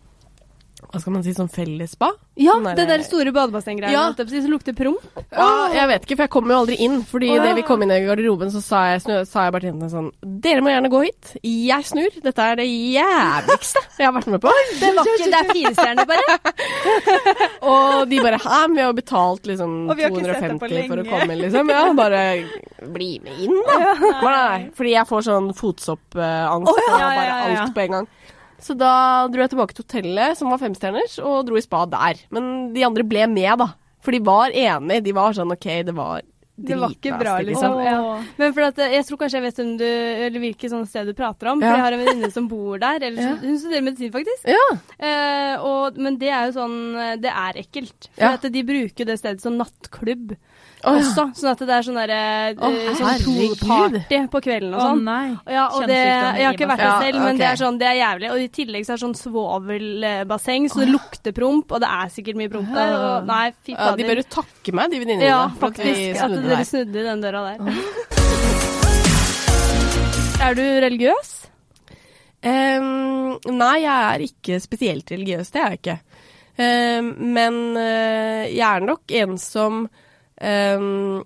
S3: Hva skal man si, sånn fellesspa?
S2: ja,
S3: Sånn
S2: det der store badebasseng-greiene
S3: Ja.
S2: holdt jeg på å si, som lukter promp.
S3: Ja, jeg vet ikke, for jeg kom jo aldri inn. Fordi
S2: Å, ja.
S3: det vi kom inn i garderoben, så sa jeg, snu, sa jeg bare til jentene sånn Dere må gjerne gå hit. Jeg snur. Dette er det jævligste jeg har vært med på.
S2: Det var ikke det er firestjerner, bare.
S3: Og de bare Hæ, men vi har betalt liksom
S1: Og vi har ikke sett deg
S3: 250
S1: på
S3: for å
S1: lenge.
S3: komme, liksom. Ja, bare bli med inn, da. Nei, nei, fordi jeg får sånn fotsoppeangst
S1: Å, ja,
S3: og
S1: ja,
S3: bare
S1: ja, ja.
S3: alt på en gang. Så da dro jeg tilbake til hotellet, som var femstjerners, og dro i spa der. Men de andre ble med, da. For de var enige. De var sånn OK, det var
S2: Det var ikke bra,
S1: dritbasket,
S2: liksom.
S1: Åh.
S2: Ja. Men for at, eh, jeg tror kanskje jeg vet hvem du, eller hvilket sånt sted du prater om. For
S3: Ja.
S2: jeg har en venninne som bor der. Eller, som-
S3: Ja.
S2: Hun studerer medisin, faktisk.
S3: Ja.
S2: Eh, og, men det er jo sånn eh, Det er ekkelt. For
S3: Ja.
S2: at de bruker det stedet som nattklubb
S3: Å, ja.
S2: også. Sånn at det er sånn derre
S3: Å,
S2: sånn
S1: herregud.
S2: pool-party på kvelden og
S1: Å
S2: sånn.
S1: nei.
S2: Ja, og det,
S1: Kjønnssykdom
S2: jeg har
S1: i
S2: ikke
S1: meg.
S2: vært der
S3: Ja,
S2: selv, men det er
S3: ok.
S2: sånn, det er jævlig. Og i tillegg så er det sånn svovelbasseng, så det lukter promp, og det er sikkert mye promp der. Og nei, fy
S3: Ja, de
S2: fader.
S3: bør jo takke meg, de venninnene
S2: Ja,
S3: mine, for at vi
S2: faktisk. At
S3: snudde
S2: dere
S3: der.
S2: snudde i den døra der. Er du religiøs?
S3: Ehm, nei, jeg er ikke spesielt religiøs, det er jeg ikke. Ehm, men eh, jeg er nok en som ehm,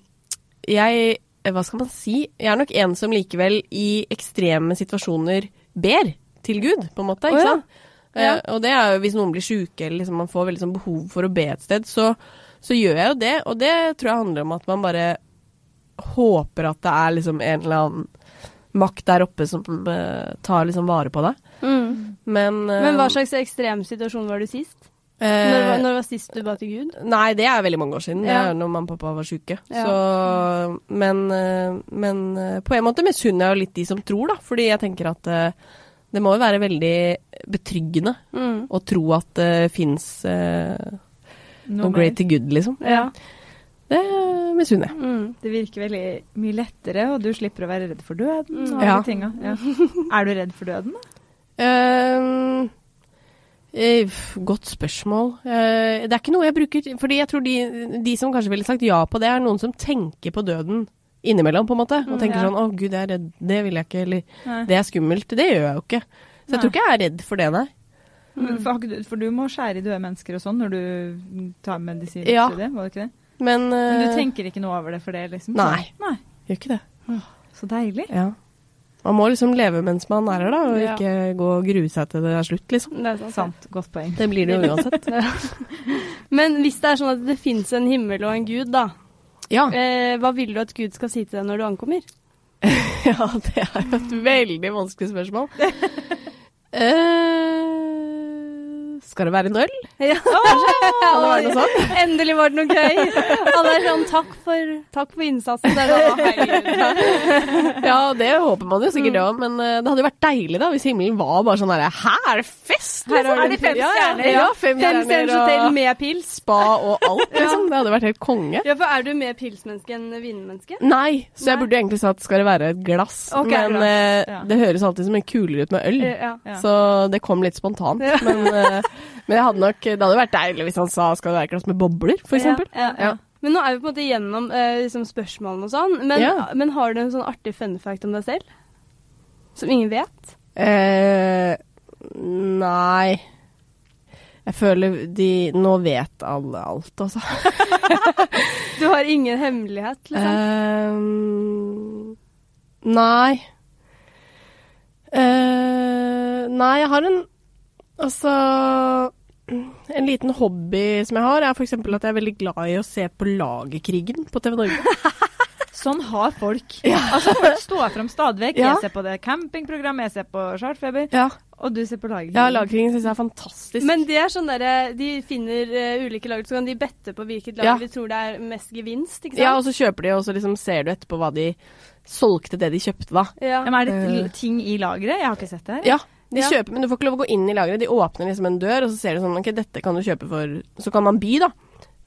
S3: Jeg eh, Hva skal man si? Jeg er nok en som likevel i ekstreme situasjoner ber til Gud, på en måte.
S2: Å,
S3: Ikke
S2: ja.
S3: sant?
S2: Ja.
S3: Eh, og det er jo hvis noen blir sjuke eller liksom man får veldig sånn behov for å be et sted, så, så gjør jeg jo det. Og det tror jeg handler om at man bare håper at det er liksom en eller annen makt der oppe som eh, tar liksom vare på deg.
S2: Mm.
S3: Men, eh,
S2: Men hva slags ekstrem situasjon var du sist?
S3: eh,
S2: Når, var- når var sist du ba til Gud?
S3: Nei, det er veldig mange år siden.
S2: Ja.
S3: Det er når mamma og pappa var sjuke.
S2: Ja.
S3: Så, men, eh, men eh, på en måte misunner jeg jo litt de som tror, da. Fordi jeg tenker at eh, det må jo være veldig betryggende
S2: Mm.
S3: å tro at det fins noe
S1: mer.
S3: great to good, liksom.
S2: Ja.
S3: Det misunner jeg.
S2: Mm.
S1: Det virker veldig mye lettere, og du slipper å være redd for døden.
S2: Mm.
S1: Og alle
S3: Ja.
S1: de tinga. Ja. Er du redd for døden, da?
S3: Ehm, eh, f- godt spørsmål. Eh, det er ikke noe jeg bruker Fordi jeg tror de, de som kanskje ville sagt ja på det, er noen som tenker på døden innimellom, på en måte. Og
S2: Mm,
S3: tenker
S1: ja.
S3: sånn 'Å, gud, jeg er redd. Det vil jeg ikke.' Eller
S1: Nei.
S3: 'Det er skummelt.' Det gjør jeg jo ikke. Så jeg
S1: Nei.
S3: tror ikke jeg er redd for det, nei. Mm.
S2: Mm.
S1: Men For, har ikke du- for du må skjære i døde mennesker og sånn når du tar medisinstudiet,
S3: Ja.
S1: var det ikke det?
S3: Men,
S1: Men du
S3: eh,
S1: tenker ikke noe over det for det, liksom?
S3: Nei.
S1: Nei.
S3: Gjør ikke det.
S1: Så deilig.
S3: Ja. Man må liksom leve mens man er her, da, og
S2: Ja.
S3: ikke gå og grue seg til det er slutt, liksom.
S2: Det er sant.
S1: Sant. Godt poeng.
S3: Det blir det jo uansett.
S2: Men hvis det er sånn at det fins en himmel og en gud, da,
S3: Ja.
S2: eh, hva vil du at Gud skal si til deg når du ankommer?
S3: Ja, det er jo et veldig vanskelig spørsmål. Eh, skal det være en øl?
S2: Ja,
S3: Kan det være noe sånt?
S2: Endelig var det noe gøy. Alle er sånn takk for, takk for innsatsen. Det er sånn, «Å, herregud.
S3: Ja, det håper man jo
S2: Mm.
S3: sikkert det òg, men eh, det hadde jo vært deilig da hvis himmelen var bare sånn herre Hæ, er det fest?
S2: Her har
S1: Er
S2: du
S1: det fem
S2: en- ja, ja.
S1: stjerner?
S2: Ja,
S3: Ja, fem
S2: Fem stjerners
S3: stjerner
S2: hotell
S3: og
S2: med pils.
S3: spa og alt, liksom. Det hadde vært helt konge.
S2: Ja, for er du mer pilsmenneske enn vinmenneske?
S3: Nei, så jeg
S2: Nei.
S3: burde jo egentlig sagt skal det være et glass,
S2: Ok,
S3: men
S2: glass,
S3: eh,
S1: ja.
S3: det høres alltid så mye kulere ut med øl.
S2: Eh, Ja.
S1: Ja.
S3: Så det kom litt spontant.
S2: Ja.
S3: Men, eh, men jeg hadde nok, det hadde vært deilig hvis han sa skal det være et glass med bobler, for eksempel.
S2: Ja, ja, ja. Men nå er vi på en måte gjennom eh, liksom spørsmålene og sånn. Men,
S3: Ja.
S2: men har du en sånn artig fun fact om deg selv? Som ingen vet?
S3: Eh, nei Jeg føler de Nå vet alle alt, altså.
S2: Du har ingen hemmelighet, liksom?
S3: Ehm, nei. Eh, nei, jeg har en Altså En liten hobby som jeg har, er f.eks. at jeg er veldig glad i å se på Lagerkrigen på TV Norge.
S1: Sånn har folk. Altså, folk står fram stadig vekk.
S3: Ja.
S1: Jeg ser på det campingprogram, jeg ser på Chartfeber,
S3: ja.
S1: og du ser på laget.
S3: ja, Lagerkrigen syns jeg er fantastisk.
S2: Men det er sånn derre De finner eh, ulike lag, så kan de bette på hvilket lag
S3: Ja.
S2: de tror det er mest gevinst, ikke sant?
S3: ja, og så kjøper de, og så liksom ser du etterpå hva de solgte det de kjøpte, da.
S2: Ja.
S1: Ja, men er det l- ting i lageret? Jeg har ikke sett det her.
S3: Eh. Ja, de
S2: Ja.
S3: kjøper, men du får ikke lov å gå inn i lageret. De åpner liksom en dør, og så ser du sånn Ok, dette kan du kjøpe for Så kan man by, da.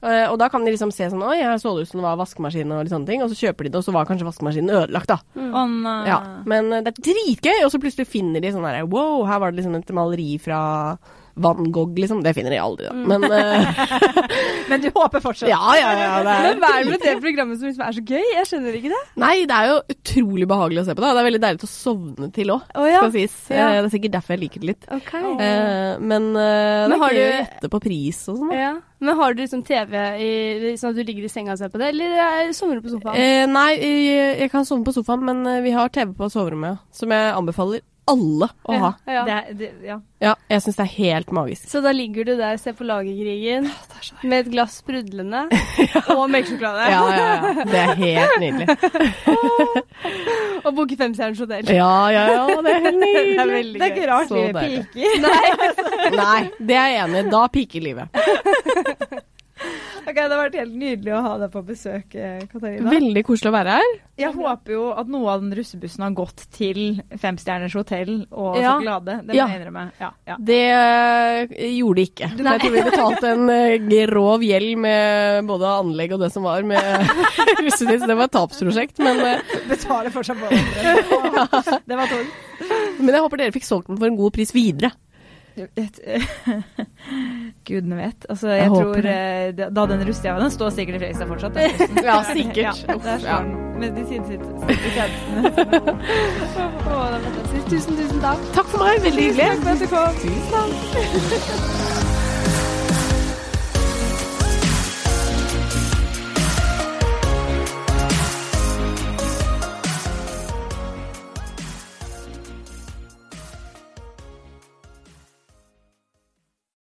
S3: Eh, Og da kan de liksom se sånn Oi, her så det ut som det var vaskemaskin og litt sånne ting. Og så kjøper de det, og så var kanskje vaskemaskinen ødelagt, da.
S1: Å nei.
S3: Ja.
S2: Ah.
S3: Men eh, det er dritgøy, og så plutselig finner de sånn her Wow, her var det liksom et maleri fra Van Gogh, liksom. Det finner de aldri,
S2: Mm.
S3: da. Men eh,
S1: Men du håper fortsatt?
S3: ja, ja, ja. Det er
S2: Men hva er det med det programmet som liksom er så gøy? Jeg skjønner ikke det.
S3: Nei, det er jo utrolig behagelig å se på det. og Det er veldig deilig å sovne til òg,
S2: Å, ja.
S3: skal sies.
S2: Ja.
S3: Eh, Det er sikkert derfor jeg liker det litt.
S2: Ok.
S3: Eh, men eh, det
S2: Men
S3: er
S2: har
S3: gøy å
S2: du-
S3: gjette på pris og sånn. da.
S2: Ja. Men har du liksom TV i, sånn at du ligger i senga og ser på det, eller sovner du på sofaen?
S3: Eh, nei, eh, jeg kan sove på sofaen, men eh, vi har TV på soverommet, ja, som jeg anbefaler alle å ha.
S2: Ja.
S1: Det, er- det, ja.
S3: Ja, jeg syns det er helt magisk.
S2: Så da ligger du der og ser på lagerkrigen med et glass sprudlende og melkesjokolade.
S3: Ja, ja, ja. Det er helt nydelig.
S2: Og booker femstjerners hotell.
S3: Ja, ja, ja. Det er
S2: Det er
S3: helt nydelig.
S2: veldig
S1: det er
S2: gøy.
S1: ikke rart
S3: Så
S1: livet
S3: deilig.
S1: piker.
S3: Nei, det er jeg enig i. Da piker livet.
S1: Ok, Det har vært helt nydelig å ha deg på besøk, eh, Katarina.
S3: Veldig koselig å være her.
S1: Jeg håper jo at noe av den russebussen har gått til Femstjerners hotell og
S3: Ja.
S1: sjokolade. Det må
S3: Ja.
S1: jeg innrømme. Ja, ja.
S3: Det eh, gjorde de ikke. For Jeg tror vi betalte en eh, grov gjeld med både anlegg og det som var med russetid, så det var et tapsprosjekt. Men, eh,
S1: Betaler for seg på andre. Det var tull.
S3: men jeg håper dere fikk solgt den for en god pris videre.
S1: Gudene vet. Altså, jeg,
S3: Jeg
S1: tror
S3: håper
S1: eh, det- da den russia den står sikkert i Fredrikstad fortsatt. den bussen.
S3: Ja, sikkert.
S1: Ja,
S3: Uff,
S1: der
S3: ja.
S1: står den. Med de sidesittende. Tusen, tusen takk.
S3: Takk for meg, veldig hyggelig.
S1: Takk for at du kom.
S3: Tusen takk.